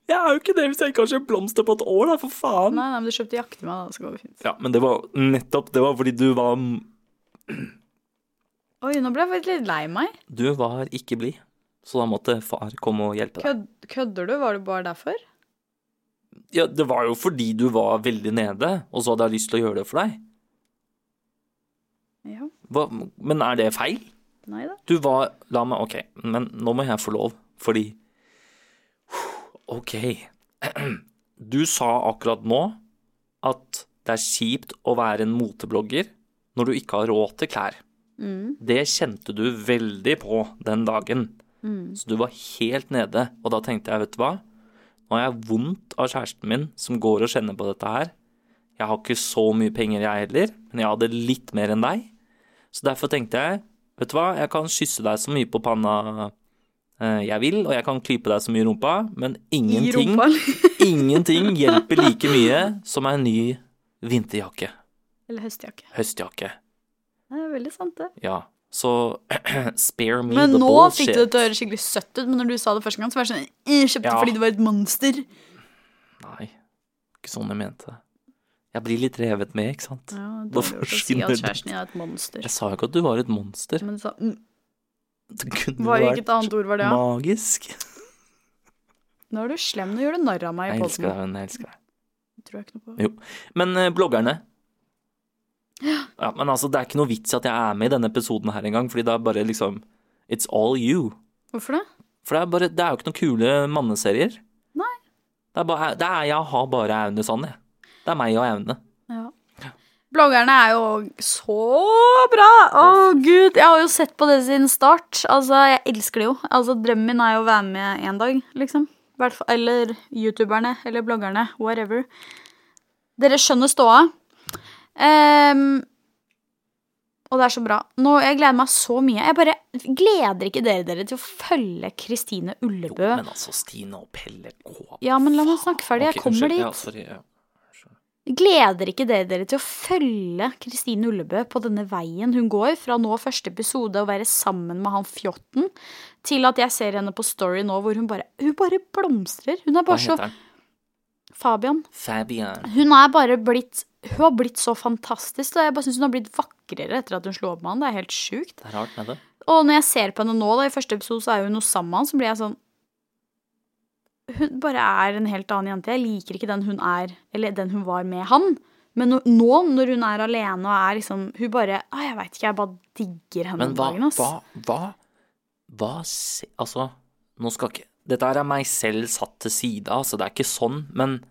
Speaker 1: Jeg er jo ikke det hvis jeg ikke har kjøpt blomster på et år, da, for faen.
Speaker 2: Nei, nei, men du kjøpte jakke til meg, da, så går det fint.
Speaker 1: Ja, men det var nettopp Det var fordi du var
Speaker 2: Oi, nå ble jeg faktisk litt lei meg.
Speaker 1: Du var ikke blid, så da måtte far komme og hjelpe deg.
Speaker 2: Kødd, kødder du? Var det bare derfor?
Speaker 1: Ja, det var jo fordi du var veldig nede, og så hadde jeg lyst til å gjøre det for deg.
Speaker 2: Ja.
Speaker 1: Hva, men er det feil?
Speaker 2: Nei da.
Speaker 1: Du var La meg Ok, men nå må jeg få lov, fordi Ok. Du sa akkurat nå at det er kjipt å være en moteblogger når du ikke har råd til klær.
Speaker 2: Mm.
Speaker 1: Det kjente du veldig på den dagen.
Speaker 2: Mm.
Speaker 1: Så du var helt nede, og da tenkte jeg, vet du hva? Nå har jeg vondt av kjæresten min som går og kjenner på dette her. Jeg har ikke så mye penger jeg heller, men jeg hadde litt mer enn deg. Så derfor tenkte jeg, vet du hva, jeg kan kysse deg så mye på panna eh, jeg vil, og jeg kan klype deg så mye i rumpa, men
Speaker 2: I
Speaker 1: ingenting,
Speaker 2: rumpa.
Speaker 1: ingenting hjelper like mye som en ny vinterjakke,
Speaker 2: Eller høstjakke.
Speaker 1: høstjakke.
Speaker 2: Det er veldig sant, det.
Speaker 1: Ja, så spare me
Speaker 2: Men
Speaker 1: the
Speaker 2: nå
Speaker 1: bullshit.
Speaker 2: fikk du det til å høre skikkelig søtt ut, men når du sa det første gang, så var det sånn «Eh, Kjøpte
Speaker 1: Ja.
Speaker 2: fordi du var et monster.
Speaker 1: Nei, ikke sånn jeg mente det. Jeg blir litt revet med, ikke sant?
Speaker 2: Ja,
Speaker 1: Da dårlig gjort å si forsvinner at det. kjæresten
Speaker 2: kjæresten din er et monster.
Speaker 1: Jeg sa jo ikke at du var et monster.
Speaker 2: Men du sa mm,
Speaker 1: Det kunne
Speaker 2: var
Speaker 1: vært
Speaker 2: ikke et annet ord, var det? Ja.
Speaker 1: magisk.
Speaker 2: Nå er du slem, nå gjør du narr av meg i
Speaker 1: Jeg elsker
Speaker 2: podden.
Speaker 1: deg, hun. Jeg elsker deg.
Speaker 2: Tror jeg ikke noe på.
Speaker 1: Jo. Men eh, bloggerne ja, Men altså, det er ikke noe vits i at jeg er med i denne episoden her engang, fordi det er bare liksom It's all you.
Speaker 2: Hvorfor det?
Speaker 1: For det er, bare, det er jo ikke noen kule manneserier.
Speaker 2: Nei.
Speaker 1: Det er, bare, det er jeg har bare Aune Sand, jeg. Det er meg og Aune.
Speaker 2: Ja. Bloggerne er jo så bra! Å, gud! Jeg har jo sett på det siden start. Altså, jeg elsker det jo. Altså, drømmen min er jo å være med en dag, liksom. Hvert fall- Eller youtuberne, eller bloggerne, whatever. Dere skjønner ståa. Ehm, Og det er så bra. Nå, Jeg gleder meg så mye. Jeg bare gleder ikke dere dere til å følge Kristine Ullebø.
Speaker 1: Men altså, Stine og Pelle gå
Speaker 2: Ja, men la meg snakke ferdig. Jeg
Speaker 1: Ok,
Speaker 2: kommer
Speaker 1: unnskyld.
Speaker 2: dit.
Speaker 1: Ja, sorry, ja.
Speaker 2: Gleder ikke dere dere til å følge Kristine Ullebø på denne veien hun går, fra nå første episode og være sammen med han fjotten, til at jeg ser henne på Story nå hvor hun bare, hun bare blomstrer. Hun er
Speaker 1: Hva
Speaker 2: bare så
Speaker 1: heter han?
Speaker 2: Fabian.
Speaker 1: Fabian.
Speaker 2: Hun er bare blitt Hun har blitt så fantastisk. Og jeg bare syns hun har blitt vakrere etter at hun slo opp med han. Det er helt sjukt.
Speaker 1: Det er rart med det.
Speaker 2: Og når jeg ser på henne nå, da, i første episode, så er hun noe sammen med han, så blir jeg sånn Hun bare er en helt annen jente. Jeg liker ikke den hun er, eller den hun var med han. Men nå- nå, når hun er alene og er liksom Hun bare Å, jeg veit ikke, jeg bare digger henne
Speaker 1: Men
Speaker 2: om
Speaker 1: hva,
Speaker 2: dagen, ass.
Speaker 1: hva, hva, hva se- Altså, nå skal ikke Dette her er meg selv satt til side, altså, det er ikke sånn, men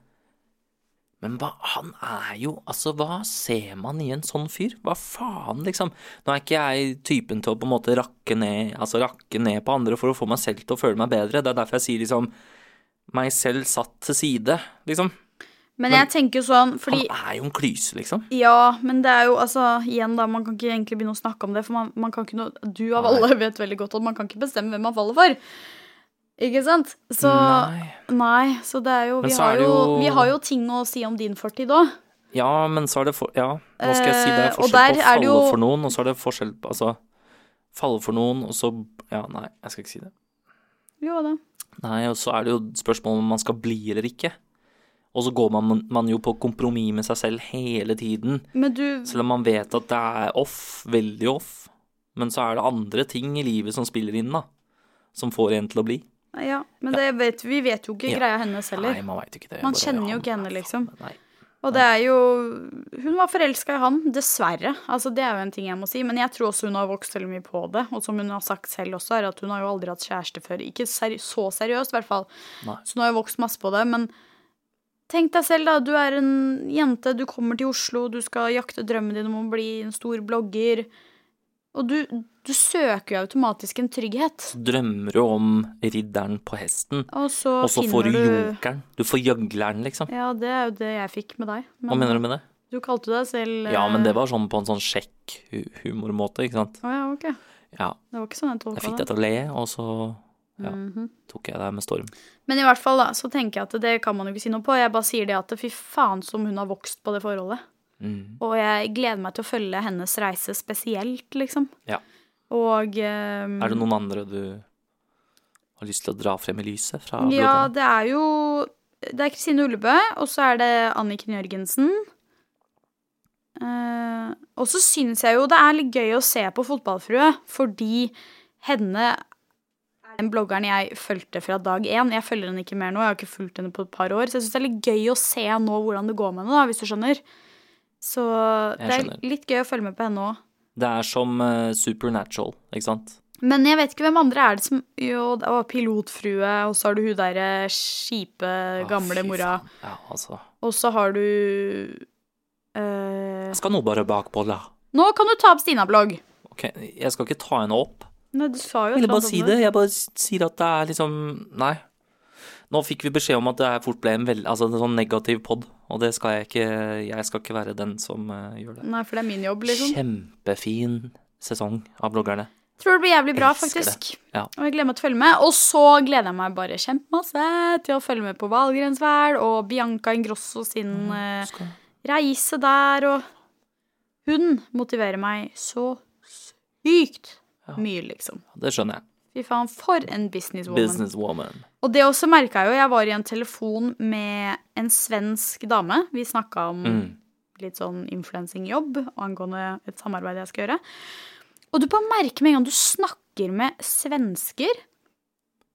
Speaker 1: men hva, han er jo Altså, hva ser man i en sånn fyr? Hva faen, liksom? Nå er ikke jeg typen til å på en måte rakke ned Altså rakke ned på andre for å få meg selv til å føle meg bedre. Det er derfor jeg sier liksom meg selv satt til side, liksom.
Speaker 2: Men jeg tenker jo sånn, fordi
Speaker 1: Han er jo en klyse, liksom.
Speaker 2: Ja, men det er jo altså Igjen, da. Man kan ikke egentlig begynne å snakke om det. For man, man kan ikke noe Du av
Speaker 1: Nei.
Speaker 2: alle vet veldig godt at man kan ikke bestemme hvem man faller for. Ikke sant? Så Nei,
Speaker 1: Nei.
Speaker 2: så det er jo
Speaker 1: Men
Speaker 2: vi,
Speaker 1: så er
Speaker 2: har
Speaker 1: det
Speaker 2: jo
Speaker 1: jo-
Speaker 2: vi har jo ting å si om din fortid òg.
Speaker 1: Ja, men så er det for, Ja, hva skal jeg si? Det
Speaker 2: Eh,
Speaker 1: er
Speaker 2: og
Speaker 1: forskjell på å
Speaker 2: der er
Speaker 1: falle
Speaker 2: det jo-
Speaker 1: for noen, og så er det forskjell på Altså, falle for noen, og så Ja, nei, jeg skal ikke si det.
Speaker 2: Jo da.
Speaker 1: Nei, og så er det jo spørsmål om man skal bli eller ikke. Og så går man, man jo på kompromiss med seg selv hele tiden.
Speaker 2: Men du
Speaker 1: Selv om man vet at det er off, veldig off. Men så er det andre ting i livet som spiller inn, da. Som får en til å bli.
Speaker 2: Ja, men det vet, vi vet jo ikke
Speaker 1: Ja.
Speaker 2: greia hennes heller.
Speaker 1: Nei, man veit ikke det.
Speaker 2: Man
Speaker 1: Bare,
Speaker 2: kjenner jo
Speaker 1: han
Speaker 2: ikke henne,
Speaker 1: er
Speaker 2: liksom.
Speaker 1: faen- Nei.
Speaker 2: Og det er jo Hun var forelska i han, dessverre. Altså, det er jo en ting jeg må si. Men jeg tror også hun har vokst veldig mye på det. Og som hun har sagt selv også, er at hun har jo aldri hatt kjæreste før. Ikke seri så seriøst, i hvert fall.
Speaker 1: Nei.
Speaker 2: Så hun har jo vokst masse på det. Men tenk deg selv, da. Du er en jente, du kommer til Oslo, du skal jakte drømmen din om å bli en stor blogger. Og du, du søker jo automatisk en trygghet.
Speaker 1: Drømmer jo om ridderen på hesten.
Speaker 2: Og så,
Speaker 1: Og så får
Speaker 2: finner
Speaker 1: du
Speaker 2: du
Speaker 1: jokeren. Du får gjøgleren, liksom.
Speaker 2: Ja, det er jo det jeg fikk med deg.
Speaker 1: Hva mener du med det?
Speaker 2: du kalte deg selv
Speaker 1: Ja, men det var sånn på en sånn sjekk hu- humormåte, ikke sant.
Speaker 2: eh, Å ja, ok.
Speaker 1: Ja,
Speaker 2: Det var ikke sånn jeg tolka
Speaker 1: jeg fikk deg til å le, og så ja, tok jeg deg med storm.
Speaker 2: Men i hvert fall da, så tenker jeg at det kan man jo ikke si noe på. Jeg bare sier det at fy faen som hun har vokst på det forholdet.
Speaker 1: Mm.
Speaker 2: Og jeg gleder meg til å følge hennes reise spesielt, liksom.
Speaker 1: Ja.
Speaker 2: Og ehm,
Speaker 1: Er det noen andre du har lyst til å dra frem i lyset fra
Speaker 2: Ja,
Speaker 1: bloggerne?
Speaker 2: det er jo Det er Kristine Ullebø, og så er det Anniken Jørgensen. Eh, og så syns jeg jo det er litt gøy å se på Fotballfrue, fordi henne er den bloggeren jeg fulgte fra dag én. Jeg følger henne ikke mer nå, jeg har ikke fulgt henne på et par år. Så jeg syns det er litt gøy å se nå hvordan det går med henne, da, hvis du skjønner. Så
Speaker 1: Jeg
Speaker 2: det
Speaker 1: skjønner.
Speaker 2: er litt gøy å følge med på henne òg.
Speaker 1: Det er som eh, Supernatural, ikke sant?
Speaker 2: Men jeg vet ikke hvem andre er det som Jo, det var Pilotfrue, og så har du hun derre kjipe,
Speaker 1: Å,
Speaker 2: gamle
Speaker 1: fy
Speaker 2: mora.
Speaker 1: faen. Ja, altså.
Speaker 2: Og så har du eh,
Speaker 1: Jeg skal nå bare bakpå, da.
Speaker 2: Nå kan du ta opp Stina-blogg.
Speaker 1: Ok, jeg skal ikke ta henne opp.
Speaker 2: Nei, du sa jo
Speaker 1: Jeg ville
Speaker 2: et eller
Speaker 1: bare
Speaker 2: annet
Speaker 1: si
Speaker 2: om
Speaker 1: det. Jeg bare s- sier at det er liksom Nei. Nå fikk vi beskjed om at det her fort ble en veld, altså en sånn negativ pod, og det skal jeg ikke Jeg skal ikke være den som eh, gjør det.
Speaker 2: Nei, for det er min jobb, liksom.
Speaker 1: Kjempefin sesong av bloggerne.
Speaker 2: Tror det blir jævlig bra,
Speaker 1: Elsker det.
Speaker 2: faktisk.
Speaker 1: Ja.
Speaker 2: Og jeg gleder meg til å følge med. Og så gleder jeg meg bare kjempemasse til å følge med på Valgrensvær og Bianca Ingrosso sin
Speaker 1: Mm.
Speaker 2: eh,
Speaker 1: Skal-
Speaker 2: reise der, og Hun motiverer meg så sykt
Speaker 1: Ja.
Speaker 2: mye, liksom.
Speaker 1: Det skjønner jeg.
Speaker 2: Fy faen, for en businesswoman.
Speaker 1: Businesswoman.
Speaker 2: Og det også merka jeg jo. Jeg var i en telefon med en svensk dame. Vi snakka om
Speaker 1: Mm.
Speaker 2: litt sånn influensingjobb angående et samarbeid jeg skal gjøre. Og du bare merker med en gang du snakker med svensker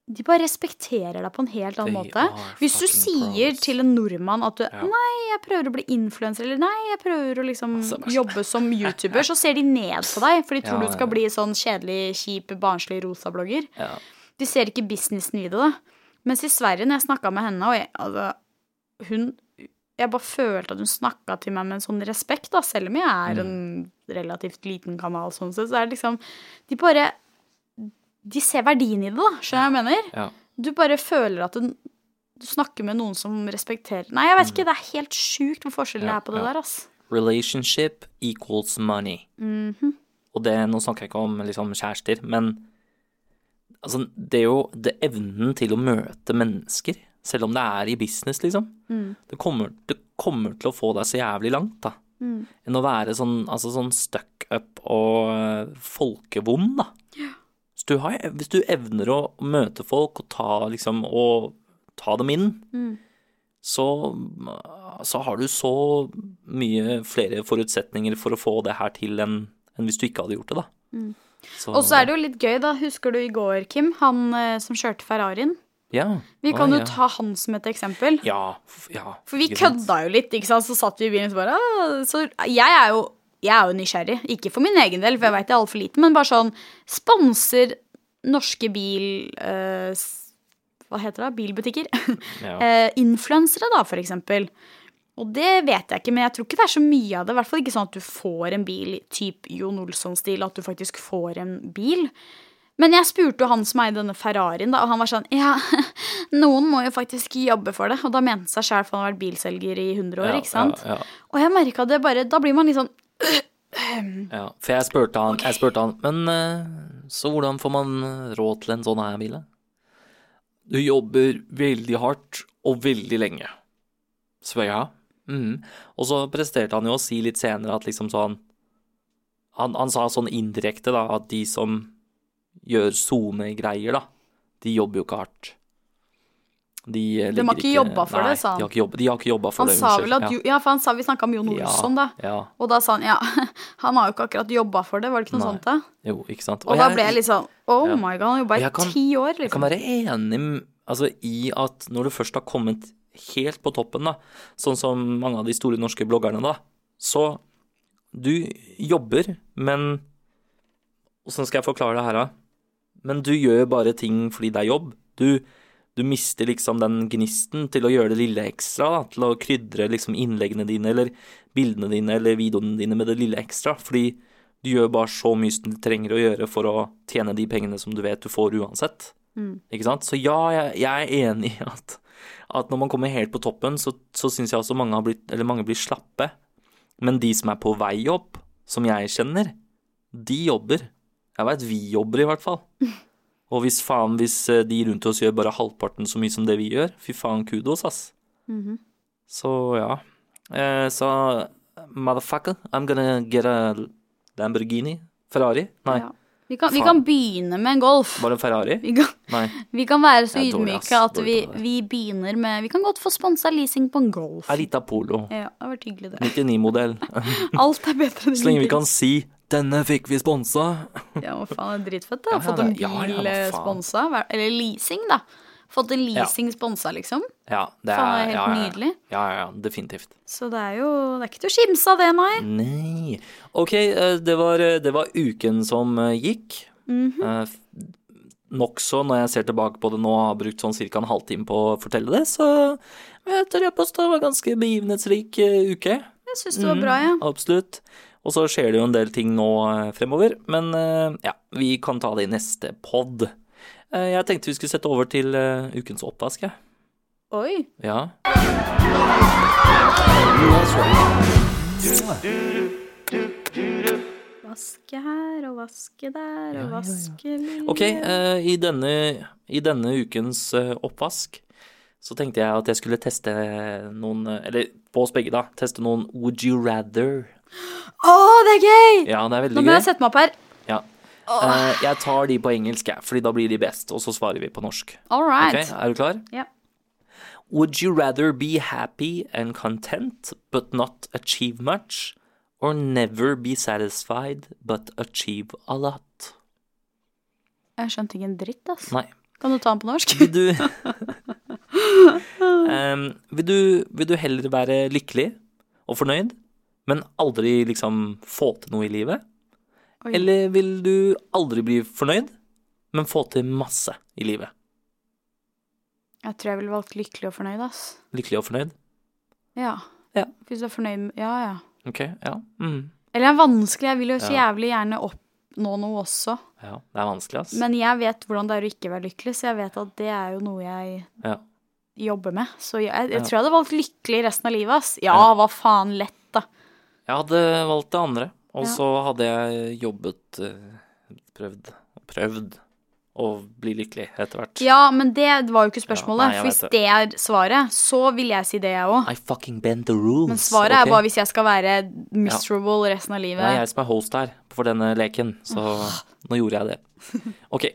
Speaker 2: De bare respekterer deg på en helt annen
Speaker 1: They
Speaker 2: måte.
Speaker 1: are
Speaker 2: Hvis du
Speaker 1: fucking
Speaker 2: sier
Speaker 1: pros.
Speaker 2: til en nordmann at du Nei, jeg prøver å bli influenser, eller nei, jeg prøver å liksom
Speaker 1: Altså, bare-
Speaker 2: jobbe som YouTuber, så ser de ned på deg. For de
Speaker 1: Ja,
Speaker 2: tror
Speaker 1: ja,
Speaker 2: du skal
Speaker 1: ja.
Speaker 2: bli sånn kjedelig, kjip, barnslig rosa-blogger.
Speaker 1: Ja.
Speaker 2: De ser ikke businessen i det, da. Mens i Sverige, når jeg snakka med henne, og jeg, altså, hun Jeg bare følte at hun snakka til meg med en sånn respekt, da, selv om jeg er
Speaker 1: Mm.
Speaker 2: en relativt liten kanal, sånn sett, så er det liksom De bare De ser verdien i det, da, skjønner du hva jeg mener?
Speaker 1: ja.
Speaker 2: Du bare føler at du, du snakker med noen som respekterer Nei, jeg vet ikke, det er helt sjukt hvor
Speaker 1: Mhm.
Speaker 2: forskjellen
Speaker 1: Ja,
Speaker 2: er på det
Speaker 1: ja.
Speaker 2: der, ass. Mhm,
Speaker 1: Relationship equals money. Og det, nå snakker jeg ikke om liksom, kjærester, men altså, det er jo det evnen til å møte mennesker, selv om det er i business, liksom. Det, kommer, det kommer til å få deg så jævlig langt, da.
Speaker 2: mhm.
Speaker 1: Enn å være sånn, altså, sånn stuck up og eh, folkevond, da. Hvis du, har, hvis du evner å møte folk og ta, liksom, og ta dem inn,
Speaker 2: Mm.
Speaker 1: så, så har du så mye flere forutsetninger for å få det her til enn enn hvis du ikke hadde gjort det, da. Så,
Speaker 2: Mm. Og så er det jo litt gøy, da. Husker du i går, Kim, han eh, som kjørte Ferrarien?
Speaker 1: ja.
Speaker 2: Vi kan
Speaker 1: Å,
Speaker 2: jo ta han som et eksempel.
Speaker 1: ja. f- ja.
Speaker 2: For vi
Speaker 1: ikke sant?
Speaker 2: kødda jo litt, ikke sant. Så satt vi i bilen og så bare «Ah», Så jeg er jo jeg er jo nysgjerrig. Ikke for min egen del, for jeg veit jeg er altfor liten, men bare sånn Sponser norske bil... eh, s- hva heter det? Bilbutikker.
Speaker 1: Ja.
Speaker 2: Eh, Influensere, da, for eksempel. Og det vet jeg ikke, men jeg tror ikke det er så mye av det. I hvert fall ikke sånn at du får en bil typ Jon Olsson-stil, at du faktisk får en bil. Men jeg spurte jo han som eide denne Ferrarien, da, og han var sånn Ja, noen må jo faktisk jobbe for det. Og da mente han seg sjæl, for han har vært bilselger i 100 år,
Speaker 1: Ja,
Speaker 2: ikke sant.
Speaker 1: Ja,
Speaker 2: Og jeg merka det bare Da blir man litt sånn
Speaker 1: ja, ja. For jeg spurte han, jeg spurte han Men eh, så hvordan får man råd til en sånn her bil? da?» Du jobber veldig hardt og veldig lenge. Så jeg, ja. mhm. Og så presterte han jo å si litt senere at liksom sånn Han, han sa sånn indirekte da, at de som gjør sonegreier, da, de jobber jo ikke hardt. De, eh,
Speaker 2: De har
Speaker 1: ligger
Speaker 2: ikke jobba for
Speaker 1: nei,
Speaker 2: det, sa han.
Speaker 1: De har ikke jobba, de har ikke jobba for
Speaker 2: Han
Speaker 1: det,
Speaker 2: sa
Speaker 1: unnskyld.
Speaker 2: vel at jo- Ja, for han sa vi snakka om Jon Olsson, sånn da.
Speaker 1: Ja, ja,
Speaker 2: Og da sa han ja, han har jo ikke akkurat jobba for det, var det ikke noe
Speaker 1: Nei.
Speaker 2: sånt da?
Speaker 1: jo, ikke sant.
Speaker 2: Og, da ble jeg litt sånn Oh
Speaker 1: Ja.
Speaker 2: my god, han jobba
Speaker 1: Og jeg
Speaker 2: i
Speaker 1: kan-
Speaker 2: ti år,
Speaker 1: Jeg kan
Speaker 2: liksom.
Speaker 1: være enig m- altså, i at når du først har kommet helt på toppen, da, sånn som mange av de store norske bloggerne, da, så du jobber, men Åssen skal jeg forklare det her, da? Men du gjør bare ting fordi det er jobb. Du, du mister liksom den gnisten til å gjøre det lille ekstra, da, til å krydre liksom innleggene dine eller bildene dine eller videoene dine med det lille ekstra, fordi du gjør bare så mye som du trenger å gjøre for å tjene de pengene som du vet du får uansett. Ikke sant? Så ja, jeg, jeg er enig i at, at når man kommer helt på toppen, så, så syns jeg også mange, har blitt, eller mange blir slappe. Men de som er på vei opp, som jeg kjenner, de jobber. Jeg veit vi jobber, i hvert fall. Og hvis faen, hvis eh, de rundt oss gjør bare halvparten så mye som det vi gjør, fy faen, kudos, ass.
Speaker 2: liksom. Mhm.
Speaker 1: Så ja. Eh, så motherfucker, I'm gonna get a Lamborghini? Ferrari? Nei,
Speaker 2: Ja. Vi, kan, vi
Speaker 1: Faen.
Speaker 2: kan begynne med en golf.
Speaker 1: bare en Ferrari?
Speaker 2: Vi kan,
Speaker 1: Nei.
Speaker 2: vi kan være så
Speaker 1: Jeg er dårlig, ass.
Speaker 2: ydmyke at
Speaker 1: Dårlig
Speaker 2: vi,
Speaker 1: på det der.
Speaker 2: vi begynner med Vi kan godt få sponsa leasing på en golf. Ja,
Speaker 1: Erita Polo.
Speaker 2: det har vært hyggelig, det.
Speaker 1: 99-modell.
Speaker 2: Alt er bedre enn
Speaker 1: Så lenge vi kan si 'denne fikk vi sponsa'.
Speaker 2: Ja, hva faen, det er dritfett.
Speaker 1: Ja,
Speaker 2: da. Fått en
Speaker 1: det- ja, ja, hva
Speaker 2: bil eh,
Speaker 1: faen.
Speaker 2: sponsa. hva- Eller leasing, da. Fått en leasing sponsa, liksom.
Speaker 1: Ja, det er,
Speaker 2: Faen, det er helt
Speaker 1: ja, ja, ja.
Speaker 2: nydelig.
Speaker 1: Ja, ja, ja, definitivt.
Speaker 2: Så det er jo Det er ikke til å kimse av det, nei.
Speaker 1: Nei. Ok, eh, det var, det var uken som eh, gikk.
Speaker 2: Mhm.
Speaker 1: Eh, f- Nokså, når jeg ser tilbake på det nå, har brukt sånn ca. en halvtime på å fortelle det, så jeg tør jeg påstå det var en ganske begivenhetsrik eh, uke.
Speaker 2: Jeg syns det var
Speaker 1: Mm.
Speaker 2: bra, ja.
Speaker 1: Absolutt. Og så skjer det jo en del ting nå eh, fremover, men eh, ja, vi kan ta det i neste pod. Eh, Jeg tenkte vi skulle sette over til eh, ukens oppvask, jeg.
Speaker 2: Oi.
Speaker 1: Ja.
Speaker 2: Vaske her og vaske der og vaske lille.
Speaker 1: Ok, eh, i denne, i denne ukens eh, oppvask så tenkte jeg at jeg skulle teste noen eh, Eller på oss begge, da. Teste noen Would you rather.
Speaker 2: Å, det er gøy!
Speaker 1: Ja, det er
Speaker 2: Nå
Speaker 1: veldig
Speaker 2: må
Speaker 1: gøy.
Speaker 2: jeg sette meg opp her.
Speaker 1: Ja. Eh, Jeg tar de på engelsk, jeg, fordi da blir de best, og så svarer vi på norsk.
Speaker 2: All
Speaker 1: Ok,
Speaker 2: right.
Speaker 1: Er du klar?
Speaker 2: Ja.
Speaker 1: Would you rather be happy and content but not achieve much, or never be satisfied but achieve a lot?
Speaker 2: Jeg skjønte ikke en dritt, ass.
Speaker 1: Nei.
Speaker 2: Kan du ta den på norsk?
Speaker 1: Vil du Em, vil, du vil du heller være lykkelig og fornøyd, men aldri liksom få til noe i livet?
Speaker 2: Oi.
Speaker 1: Eller vil du aldri bli fornøyd, men få til masse i livet?
Speaker 2: Jeg tror jeg ville valgt lykkelig og fornøyd, ass.
Speaker 1: Lykkelig og fornøyd?
Speaker 2: Ja.
Speaker 1: Ja.
Speaker 2: Hvis du er fornøyd med Ja, ja.
Speaker 1: Ok, ja. Mm.
Speaker 2: Eller det er vanskelig. Jeg vil jo så jævlig gjerne oppnå noe også.
Speaker 1: ja. Det er vanskelig, ass.
Speaker 2: Men jeg vet hvordan det er å ikke være lykkelig, så jeg vet at det er jo noe jeg
Speaker 1: Ja.
Speaker 2: jobber med. Så jeg, jeg
Speaker 1: Ja.
Speaker 2: tror jeg hadde valgt lykkelig resten av livet, ass. Ja,
Speaker 1: Ja.
Speaker 2: hva faen lett, da.
Speaker 1: Jeg hadde valgt det andre, Og
Speaker 2: Ja.
Speaker 1: så hadde jeg jobbet, eh, prøvd og prøvd å bli lykkelig etter hvert.
Speaker 2: Ja, men det var jo ikke spørsmålet.
Speaker 1: Ja, nei, jeg
Speaker 2: for hvis
Speaker 1: vet
Speaker 2: det er svaret, så vil jeg si det, jeg òg.
Speaker 1: I fucking bend the rules.
Speaker 2: Men svaret
Speaker 1: ok?
Speaker 2: er bare hvis jeg skal være miserable resten av
Speaker 1: Det er
Speaker 2: livet.
Speaker 1: jeg som er host her for denne leken, så nå gjorde jeg det. Ok.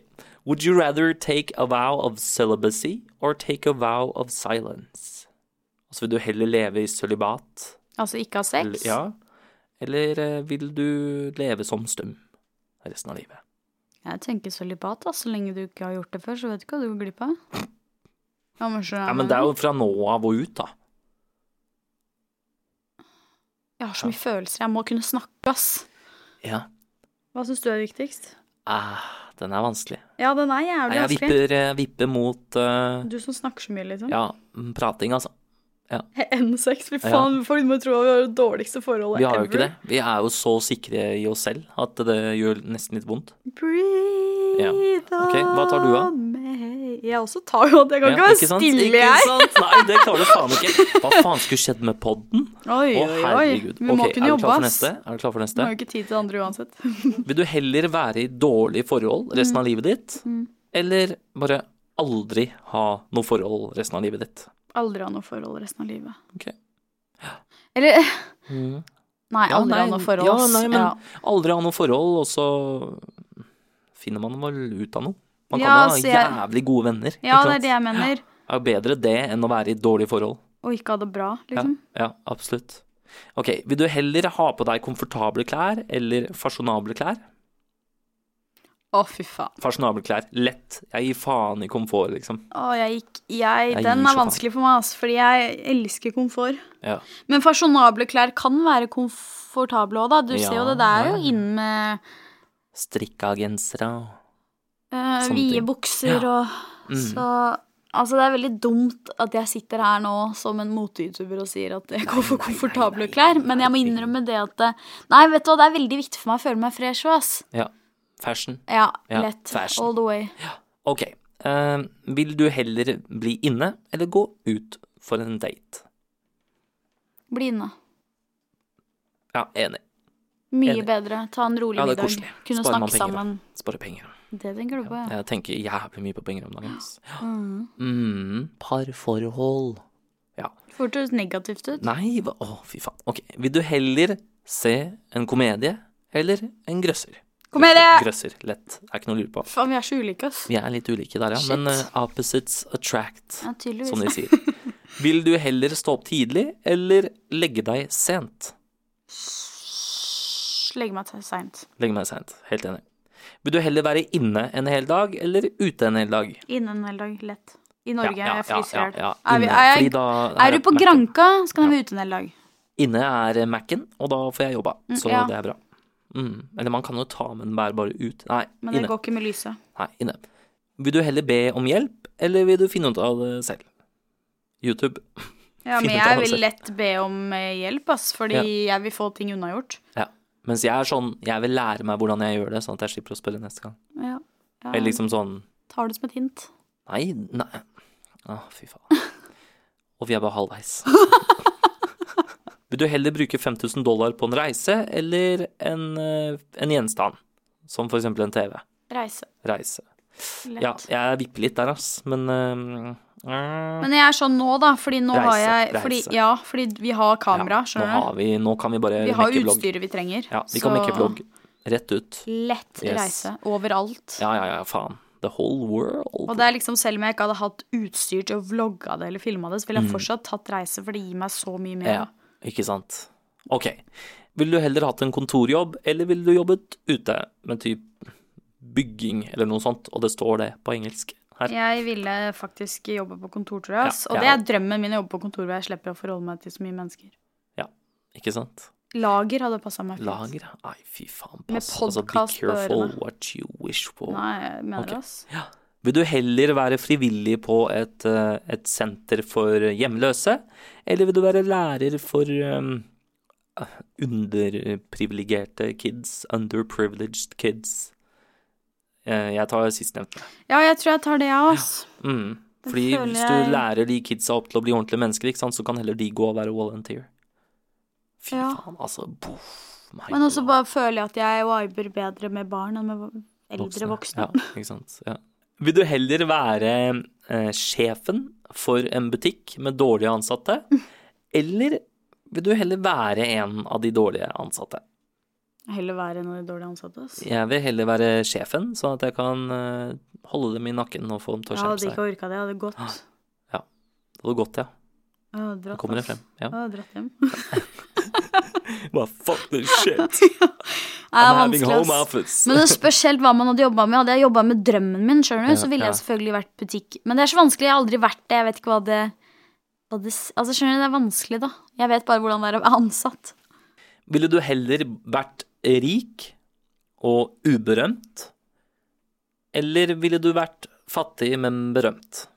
Speaker 1: Would you rather take a vow of celibacy or take a vow of silence? Altså vil du heller leve i sølibat?
Speaker 2: Altså ikke ha
Speaker 1: eller-
Speaker 2: sex.
Speaker 1: Ja. Eller eh, vil du leve som stum resten av livet?
Speaker 2: Jeg tenker sølibat, da. Så lenge du ikke har gjort det før, så vet du ikke hva du går glipp av. Ja, men, skjønner
Speaker 1: Ja,
Speaker 2: du
Speaker 1: men
Speaker 2: hva jeg
Speaker 1: det er
Speaker 2: mener?
Speaker 1: jo fra nå av og ut, da.
Speaker 2: Jeg har så mye følelser. Jeg må kunne snakke, ass.
Speaker 1: Ja.
Speaker 2: Hva syns du er viktigst?
Speaker 1: Ah, den er vanskelig.
Speaker 2: Ja, den er
Speaker 1: Nei,
Speaker 2: jævlig
Speaker 1: jeg
Speaker 2: vanskelig.
Speaker 1: vipper, eh, vipper mot eh,
Speaker 2: Du som snakker så mye, liksom.
Speaker 1: ja, prating, altså.
Speaker 2: Enn sex. Fy
Speaker 1: Ja.
Speaker 2: faen, folk må tro at vi har det dårligste forholdet
Speaker 1: Vi har jo ikke
Speaker 2: ever.
Speaker 1: det. Vi er jo så sikre i oss selv at det gjør nesten litt vondt.
Speaker 2: Breathe
Speaker 1: Ja. Ok, hva tar du av?
Speaker 2: on me. Jeg også tar jo at jeg kan
Speaker 1: Ja,
Speaker 2: ikke være
Speaker 1: ikke sant?
Speaker 2: stille,
Speaker 1: Ikke
Speaker 2: jeg.
Speaker 1: sant? Nei, det klarer du faen ikke. Hva faen skulle skjedd med podden?
Speaker 2: Oi,
Speaker 1: Å,
Speaker 2: oi, oi.
Speaker 1: herregud.
Speaker 2: Vi må
Speaker 1: Ok, er
Speaker 2: kunne
Speaker 1: du
Speaker 2: jobbe,
Speaker 1: klar for
Speaker 2: ass.
Speaker 1: neste? Er du klar for
Speaker 2: Vi
Speaker 1: neste?
Speaker 2: har jo ikke tid til det andre uansett.
Speaker 1: Vil du heller være i dårlige forhold resten
Speaker 2: Mm.
Speaker 1: av livet ditt, eller bare aldri ha noe forhold resten av livet ditt?
Speaker 2: Aldri ha noe forhold resten av livet.
Speaker 1: Ok.
Speaker 2: Eller
Speaker 1: Mm.
Speaker 2: Nei,
Speaker 1: Ja,
Speaker 2: aldri ha
Speaker 1: nei,
Speaker 2: noe forhold,
Speaker 1: ja,
Speaker 2: ass.
Speaker 1: nei, men-
Speaker 2: Ja.
Speaker 1: Aldri ha noe forhold, og så finner man vel ut av noe. Man kan
Speaker 2: Ja,
Speaker 1: ha
Speaker 2: altså, jeg-
Speaker 1: jævlig gode venner. ikke
Speaker 2: ja, det
Speaker 1: sant?
Speaker 2: er det jeg mener.
Speaker 1: Det er jo bedre det enn å være i dårlige forhold.
Speaker 2: Og ikke ha det bra, liksom.
Speaker 1: Ja, ja, absolutt. Ok, vil du heller ha på deg komfortable klær eller fasjonable klær?
Speaker 2: Å, fy faen.
Speaker 1: Fasjonable klær, lett. Jeg gir faen i komfort, liksom.
Speaker 2: Å, jeg gikk jeg,
Speaker 1: Jeg gir
Speaker 2: Den
Speaker 1: så
Speaker 2: er
Speaker 1: faen.
Speaker 2: vanskelig for meg, ass, fordi jeg elsker komfort.
Speaker 1: Ja.
Speaker 2: Men fasjonable klær kan være komfortable òg, da. Du
Speaker 1: Ja,
Speaker 2: ser jo det. Det er
Speaker 1: ja,
Speaker 2: jo
Speaker 1: ja.
Speaker 2: inn med
Speaker 1: Strikka gensere og
Speaker 2: eh,
Speaker 1: Sånne
Speaker 2: vide
Speaker 1: ting.
Speaker 2: bukser og
Speaker 1: mm.
Speaker 2: Så Altså, det er veldig dumt at jeg sitter her nå som en moteytuber og sier at jeg går for
Speaker 1: nei,
Speaker 2: komfortable
Speaker 1: nei, nei,
Speaker 2: klær, men jeg må
Speaker 1: nei.
Speaker 2: innrømme det at det- Nei, vet du hva, det er veldig viktig for meg å føle meg fresh òg, ass.
Speaker 1: ja. Fashion.
Speaker 2: Ja,
Speaker 1: Ja,
Speaker 2: lett.
Speaker 1: fashion.
Speaker 2: All the way.
Speaker 1: Ok, eh, vil du heller bli inne eller gå ut for en date?
Speaker 2: Bli inne.
Speaker 1: Ja, enig.
Speaker 2: Mye
Speaker 1: Enig.
Speaker 2: bedre. Ta en rolig
Speaker 1: Ja, det er
Speaker 2: middag.
Speaker 1: koselig.
Speaker 2: Kunne
Speaker 1: Sparer man
Speaker 2: snakke
Speaker 1: penger, da.
Speaker 2: sammen.
Speaker 1: Spare penger.
Speaker 2: Det tenker du på, ja.
Speaker 1: Jeg tenker jævlig mye på penger om dagen. ass.
Speaker 2: Mm.
Speaker 1: Mm, parforhold.
Speaker 2: Fort høres negativt ut.
Speaker 1: Nei, hva? Å, fy faen. Ok, vil du heller se en komedie eller en grøsser?
Speaker 2: Komedie!
Speaker 1: Grøsser, lett. Det er ikke noe å lure på.
Speaker 2: Faen, vi er så ulike, ass.
Speaker 1: Vi er litt ulike der, ja.
Speaker 2: Shit.
Speaker 1: Men eh, opposites attract,
Speaker 2: Ja, tydeligvis.
Speaker 1: som de sier. Vil du heller stå opp tidlig eller legge deg sent?
Speaker 2: Shhh, Legge meg til seint.
Speaker 1: Legge meg sent. Helt enig. Vil du heller være inne en hel dag eller ute en hel dag?
Speaker 2: Inne en hel dag. Lett. I Norge. jeg fryser i hjel.
Speaker 1: ja, ja.
Speaker 2: Er vi-
Speaker 1: Inne,
Speaker 2: er jeg-
Speaker 1: fordi da
Speaker 2: Er
Speaker 1: her
Speaker 2: du på
Speaker 1: Mac-en.
Speaker 2: Granka, så kan du være ute en hel dag.
Speaker 1: Inne er Mac-en, og da får jeg jobba.
Speaker 2: Mm,
Speaker 1: Så
Speaker 2: ja.
Speaker 1: det er bra. Mm. Eller man kan jo ta med den bare, bare ut. Nei,
Speaker 2: Men det
Speaker 1: inne.
Speaker 2: går ikke med lyset.
Speaker 1: Nei, inne. Vil du heller be om hjelp, eller vil du finne ut av det selv? YouTube.
Speaker 2: Ja,
Speaker 1: Finne
Speaker 2: men
Speaker 1: ut av
Speaker 2: jeg
Speaker 1: det
Speaker 2: vil
Speaker 1: selv.
Speaker 2: lett be om eh, hjelp, ass, fordi jeg vil få ting unnagjort.
Speaker 1: Ja. Mens jeg er sånn, jeg vil lære meg hvordan jeg gjør det, sånn at jeg slipper å spørre neste gang.
Speaker 2: Ja. ja.
Speaker 1: Eller liksom sånn
Speaker 2: Tar det som et hint.
Speaker 1: Nei, nei. Å, fy faen. Og vi er bare halvveis. vil du heller bruke 5000 dollar på en reise eller en, eh, en gjenstand? Som for eksempel en TV.
Speaker 2: Reise.
Speaker 1: Reise.
Speaker 2: Lett.
Speaker 1: Ja, jeg vipper litt der, ass, men eh, mm,
Speaker 2: Men jeg er sånn nå, da, fordi nå har
Speaker 1: Reise,
Speaker 2: jeg
Speaker 1: reise.
Speaker 2: fordi, Ja, fordi vi har kamera,
Speaker 1: Nå
Speaker 2: skjønner du.
Speaker 1: har vi Nå kan vi bare
Speaker 2: Vi har
Speaker 1: mekke vlogg.
Speaker 2: utstyret vi trenger.
Speaker 1: Ja, vi kan
Speaker 2: så
Speaker 1: mekke vlogg rett ut.
Speaker 2: lett
Speaker 1: Yes.
Speaker 2: reise overalt.
Speaker 1: Ja, ja, ja, faen. The whole world.
Speaker 2: Og det er liksom, selv om jeg ikke hadde hatt utstyr til å vlogge det eller filme det, så ville jeg fortsatt tatt reise, for det gir meg så mye mer.
Speaker 1: Mm. Ja, ikke sant. Ok. Ville du heller hatt en kontorjobb, eller ville du jobbet ute med typ bygging eller noe sånt, og det står det på engelsk her?
Speaker 2: Jeg ville faktisk jobbe på kontor, tror jeg.
Speaker 1: Ja,
Speaker 2: ass. og
Speaker 1: jeg
Speaker 2: det er drømmen min å jobbe på kontor hvor jeg slipper å forholde meg til så mye mennesker.
Speaker 1: Ikke sant?
Speaker 2: Lager hadde passa meg fint.
Speaker 1: Lager? Nei, fy faen.
Speaker 2: Med
Speaker 1: Pass. Altså, be
Speaker 2: podcast på
Speaker 1: careful
Speaker 2: ørene.
Speaker 1: what you wish for.
Speaker 2: Nei, jeg mener
Speaker 1: Ok.
Speaker 2: det, ass.
Speaker 1: Vil du heller være frivillig på et, eh, et senter for hjemløse, eller vil du være lærer for um, underprivilegerte kids, underprivileged kids? Eh, Jeg tar sistnevnte.
Speaker 2: Ja, jeg tror jeg tar det, jeg, ass.
Speaker 1: Mm.
Speaker 2: Det
Speaker 1: Fordi
Speaker 2: føler
Speaker 1: hvis
Speaker 2: jeg-
Speaker 1: du lærer de kidsa opp til å bli ordentlige mennesker, ikke sant, så kan heller de gå og være volunteer. Fy
Speaker 2: Ja.
Speaker 1: faen, altså. Boff. meg.
Speaker 2: Men også bare føler jeg at jeg viber bedre med barn enn med eldre voksne.
Speaker 1: Ja, ikke sant. Ja. Vil du heller være eh, sjefen for en butikk med dårlige ansatte, eller vil du heller være en av de dårlige ansatte?
Speaker 2: Heller være en av de dårlige ansatte. ass.
Speaker 1: Jeg vil heller være sjefen, sånn at jeg kan eh, holde dem i nakken og få dem til å
Speaker 2: Jeg
Speaker 1: skjerpe
Speaker 2: hadde
Speaker 1: seg.
Speaker 2: ikke orka det. Jeg hadde gått.
Speaker 1: Det var godt, ja.
Speaker 2: Jeg hadde
Speaker 1: Nå
Speaker 2: dratt,
Speaker 1: kommer det
Speaker 2: ass.
Speaker 1: frem. Ja.
Speaker 2: Jeg hadde dratt hjem.
Speaker 1: Bare fuck this shit.
Speaker 2: Nei,
Speaker 1: I'm
Speaker 2: det
Speaker 1: having
Speaker 2: er
Speaker 1: home
Speaker 2: vanskelig. ass.
Speaker 1: office.
Speaker 2: Men det spørs helt hva man hadde jobba med. Hadde jeg jobba med drømmen min, skjønner du,
Speaker 1: Ja,
Speaker 2: så ville
Speaker 1: ja.
Speaker 2: jeg selvfølgelig vært butikk. Men det er så vanskelig. Jeg har aldri vært det. Jeg vet ikke hva det, hva det s- Altså, skjønner du, det er vanskelig, da. Jeg vet bare hvordan det er å være ansatt.
Speaker 1: Ville du heller vært rik og uberømt, eller ville du vært fattig, men berømt?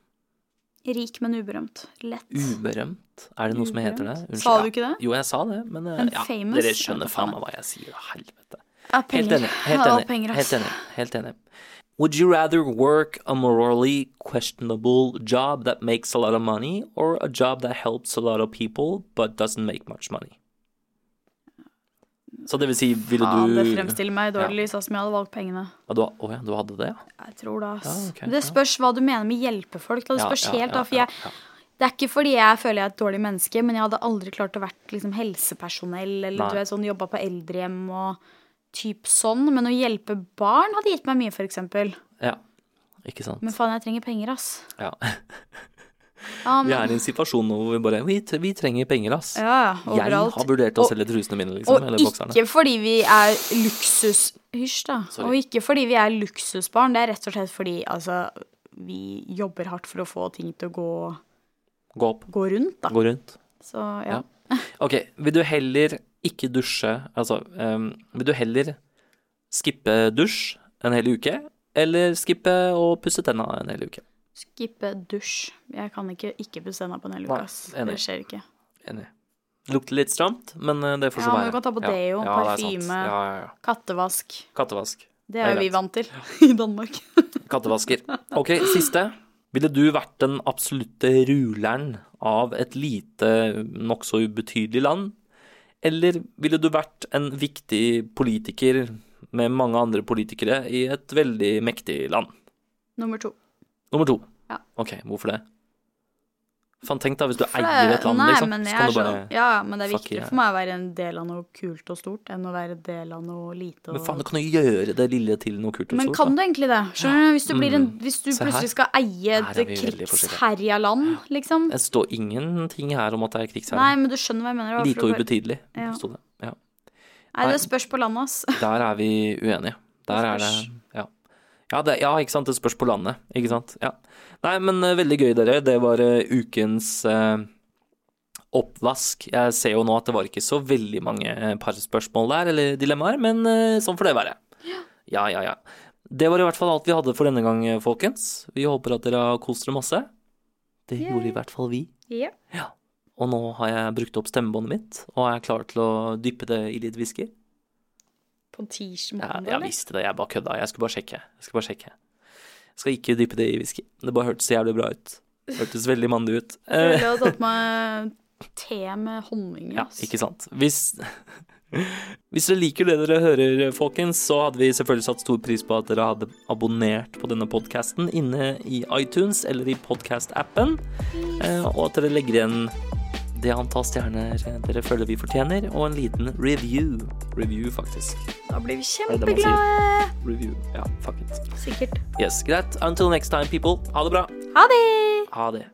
Speaker 2: Rik, men uberømt. Lett.
Speaker 1: Uberømt? Er det noe som heter det?
Speaker 2: Uberømt?
Speaker 1: Unnskyld,
Speaker 2: Sa
Speaker 1: ja.
Speaker 2: du ikke det?
Speaker 1: Jo, jeg sa det, men eh,
Speaker 2: Men
Speaker 1: ja,
Speaker 2: famous?
Speaker 1: dere
Speaker 2: Jeg vet
Speaker 1: skjønner
Speaker 2: da
Speaker 1: faen
Speaker 2: faen.
Speaker 1: meg hva jeg sier, å helvete.
Speaker 2: Ja,
Speaker 1: Helt
Speaker 2: penger.
Speaker 1: enig. Helt
Speaker 2: Ja,
Speaker 1: enig.
Speaker 2: penger, ass.
Speaker 1: helt enig. Helt enig. Would you rather work a morally questionable job that makes a lot of money, or a job that helps a lot of people but doesn't make much money? Så det vil si, ville
Speaker 2: Faen,
Speaker 1: du
Speaker 2: det fremstiller meg i dårlig lys, ass, men jeg hadde valgt pengene.
Speaker 1: ja, du, ha- å ja, du hadde det, ja?
Speaker 2: Jeg tror det, ass.
Speaker 1: Ja, ok,
Speaker 2: Men det
Speaker 1: ja.
Speaker 2: spørs hva du mener med hjelpe folk. Da. Det
Speaker 1: Ja,
Speaker 2: spørs
Speaker 1: ja,
Speaker 2: helt,
Speaker 1: ja,
Speaker 2: da, for
Speaker 1: ja,
Speaker 2: jeg,
Speaker 1: ja.
Speaker 2: Det er ikke fordi jeg føler jeg er et dårlig menneske, men jeg hadde aldri klart å vært liksom, helsepersonell eller
Speaker 1: Nei.
Speaker 2: du vet, sånn, jobba på eldrehjem og typ sånn. Men å hjelpe barn hadde gitt meg mye, for eksempel.
Speaker 1: ja. Ikke sant.
Speaker 2: Men faen, jeg trenger penger, ass.
Speaker 1: Ja.
Speaker 2: Ja,
Speaker 1: Vi
Speaker 2: men,
Speaker 1: er i en situasjon nå hvor vi bare Vi, tre- vi trenger penger, ass.
Speaker 2: ja, ja,
Speaker 1: Jeg
Speaker 2: overalt.
Speaker 1: har vurdert å selge trusene mine, liksom.
Speaker 2: Og
Speaker 1: Eller bokserne.
Speaker 2: ikke fordi vi er luksus... Hysj, da.
Speaker 1: Sorry.
Speaker 2: Og ikke fordi vi er luksusbarn. Det er rett og slett fordi altså, vi jobber hardt for å få ting til å gå,
Speaker 1: Gå opp.
Speaker 2: gå rundt, da.
Speaker 1: Gå rundt.
Speaker 2: Så ja.
Speaker 1: Ja. Ok, vil du heller ikke dusje Altså, ehm, vil du heller skippe dusj en hel uke, eller skippe å pusse tenna en hel uke?
Speaker 2: Skippe dusj. Jeg kan ikke ikke pusse tenna på en hel uke.
Speaker 1: Nei,
Speaker 2: ass.
Speaker 1: enig.
Speaker 2: Det skjer ikke.
Speaker 1: Enig. Lukter litt stramt, men eh, det får så
Speaker 2: Ja, men
Speaker 1: være.
Speaker 2: du kan ta på
Speaker 1: Ja.
Speaker 2: deo,
Speaker 1: ja, det er sant.
Speaker 2: parfyme.
Speaker 1: Ja, ja, ja.
Speaker 2: Kattevask.
Speaker 1: Kattevask.
Speaker 2: Det
Speaker 1: Det
Speaker 2: er
Speaker 1: er
Speaker 2: jo vi
Speaker 1: greit.
Speaker 2: vant til i Danmark.
Speaker 1: Kattevasker. Ok, siste. Ville du vært den absolutte ruleren av et lite, nokså ubetydelig land? Eller ville du vært en viktig politiker med mange andre politikere i et veldig mektig land?
Speaker 2: Nummer to.
Speaker 1: Nummer to.
Speaker 2: Ja.
Speaker 1: Ok, hvorfor det? Faen, tenk da, hvis du
Speaker 2: For det-
Speaker 1: eier et land,
Speaker 2: nei,
Speaker 1: liksom.
Speaker 2: Men
Speaker 1: så
Speaker 2: jeg
Speaker 1: kan
Speaker 2: er
Speaker 1: du bare
Speaker 2: sånn, ja, ja, men det er
Speaker 1: Fuck
Speaker 2: viktigere
Speaker 1: yeah.
Speaker 2: for meg å være en del av noe kult og stort enn å være en del av noe lite og
Speaker 1: Men faen, du kan jo gjøre det lille til noe kult og
Speaker 2: Men
Speaker 1: stort.
Speaker 2: kan
Speaker 1: da. Mm.
Speaker 2: du egentlig det? Skjønner du? Hvis du, blir en, hvis du
Speaker 1: Se her.
Speaker 2: plutselig skal eie
Speaker 1: Her
Speaker 2: et
Speaker 1: er vi veldig forskjellige.
Speaker 2: krigsherja land, liksom.
Speaker 1: Det står ingenting her om at det er krigsherre.
Speaker 2: Nei, men du skjønner hva jeg mener. det var
Speaker 1: Lite
Speaker 2: for å
Speaker 1: og
Speaker 2: bare-
Speaker 1: ubetydelig,
Speaker 2: Ja.
Speaker 1: sto det. Ja.
Speaker 2: Nei, det spørs på landet, ass.
Speaker 1: Der er vi uenige. Der er det
Speaker 2: Spørs.
Speaker 1: ja. Ja, det, ja, ikke sant. Det spørs på landet, ikke sant. Ja. Nei, men eh, veldig gøy, dere. Det var eh, ukens eh, oppvask. Jeg ser jo nå at det var ikke så veldig mange eh, parspørsmål der, eller dilemmaer, men eh, sånn får det være. Ja, ja, ja. Det var i hvert fall alt vi hadde for denne gang, eh, folkens. Vi håper at dere har kost dere masse. Det
Speaker 2: Yay.
Speaker 1: gjorde i hvert fall vi.
Speaker 2: Ja.
Speaker 1: Og nå har jeg brukt opp stemmebåndet mitt, og er klar til å dyppe det i litt whisky.
Speaker 2: På
Speaker 1: Ja,
Speaker 2: tirsdag,
Speaker 1: jeg
Speaker 2: eller?
Speaker 1: visste det, jeg bare kødda. Jeg skulle bare sjekke. Jeg skulle bare sjekke. Jeg skal ikke dyppe det i whisky. Det bare hørtes jævlig bra ut. Hørtes veldig mandig ut.
Speaker 2: Jeg
Speaker 1: Eh,
Speaker 2: ville ha tatt meg te med honning i,
Speaker 1: ja,
Speaker 2: ass.
Speaker 1: ikke sant. Hvis Hvis dere liker det dere hører, folkens, så hadde vi selvfølgelig satt stor pris på at dere hadde abonnert på denne podkasten inne i iTunes eller i podcast-appen, eh, og at dere legger igjen det antall stjerner dere føler vi fortjener, og en liten review. Review, faktisk.
Speaker 2: Da blir vi
Speaker 1: Er det det man sier?
Speaker 2: kjempeglade.
Speaker 1: Review. Ja, fuck it.
Speaker 2: Sikkert.
Speaker 1: Yes, greit. Until next time, people. Ha det bra.
Speaker 2: Ha det!
Speaker 1: Ha det.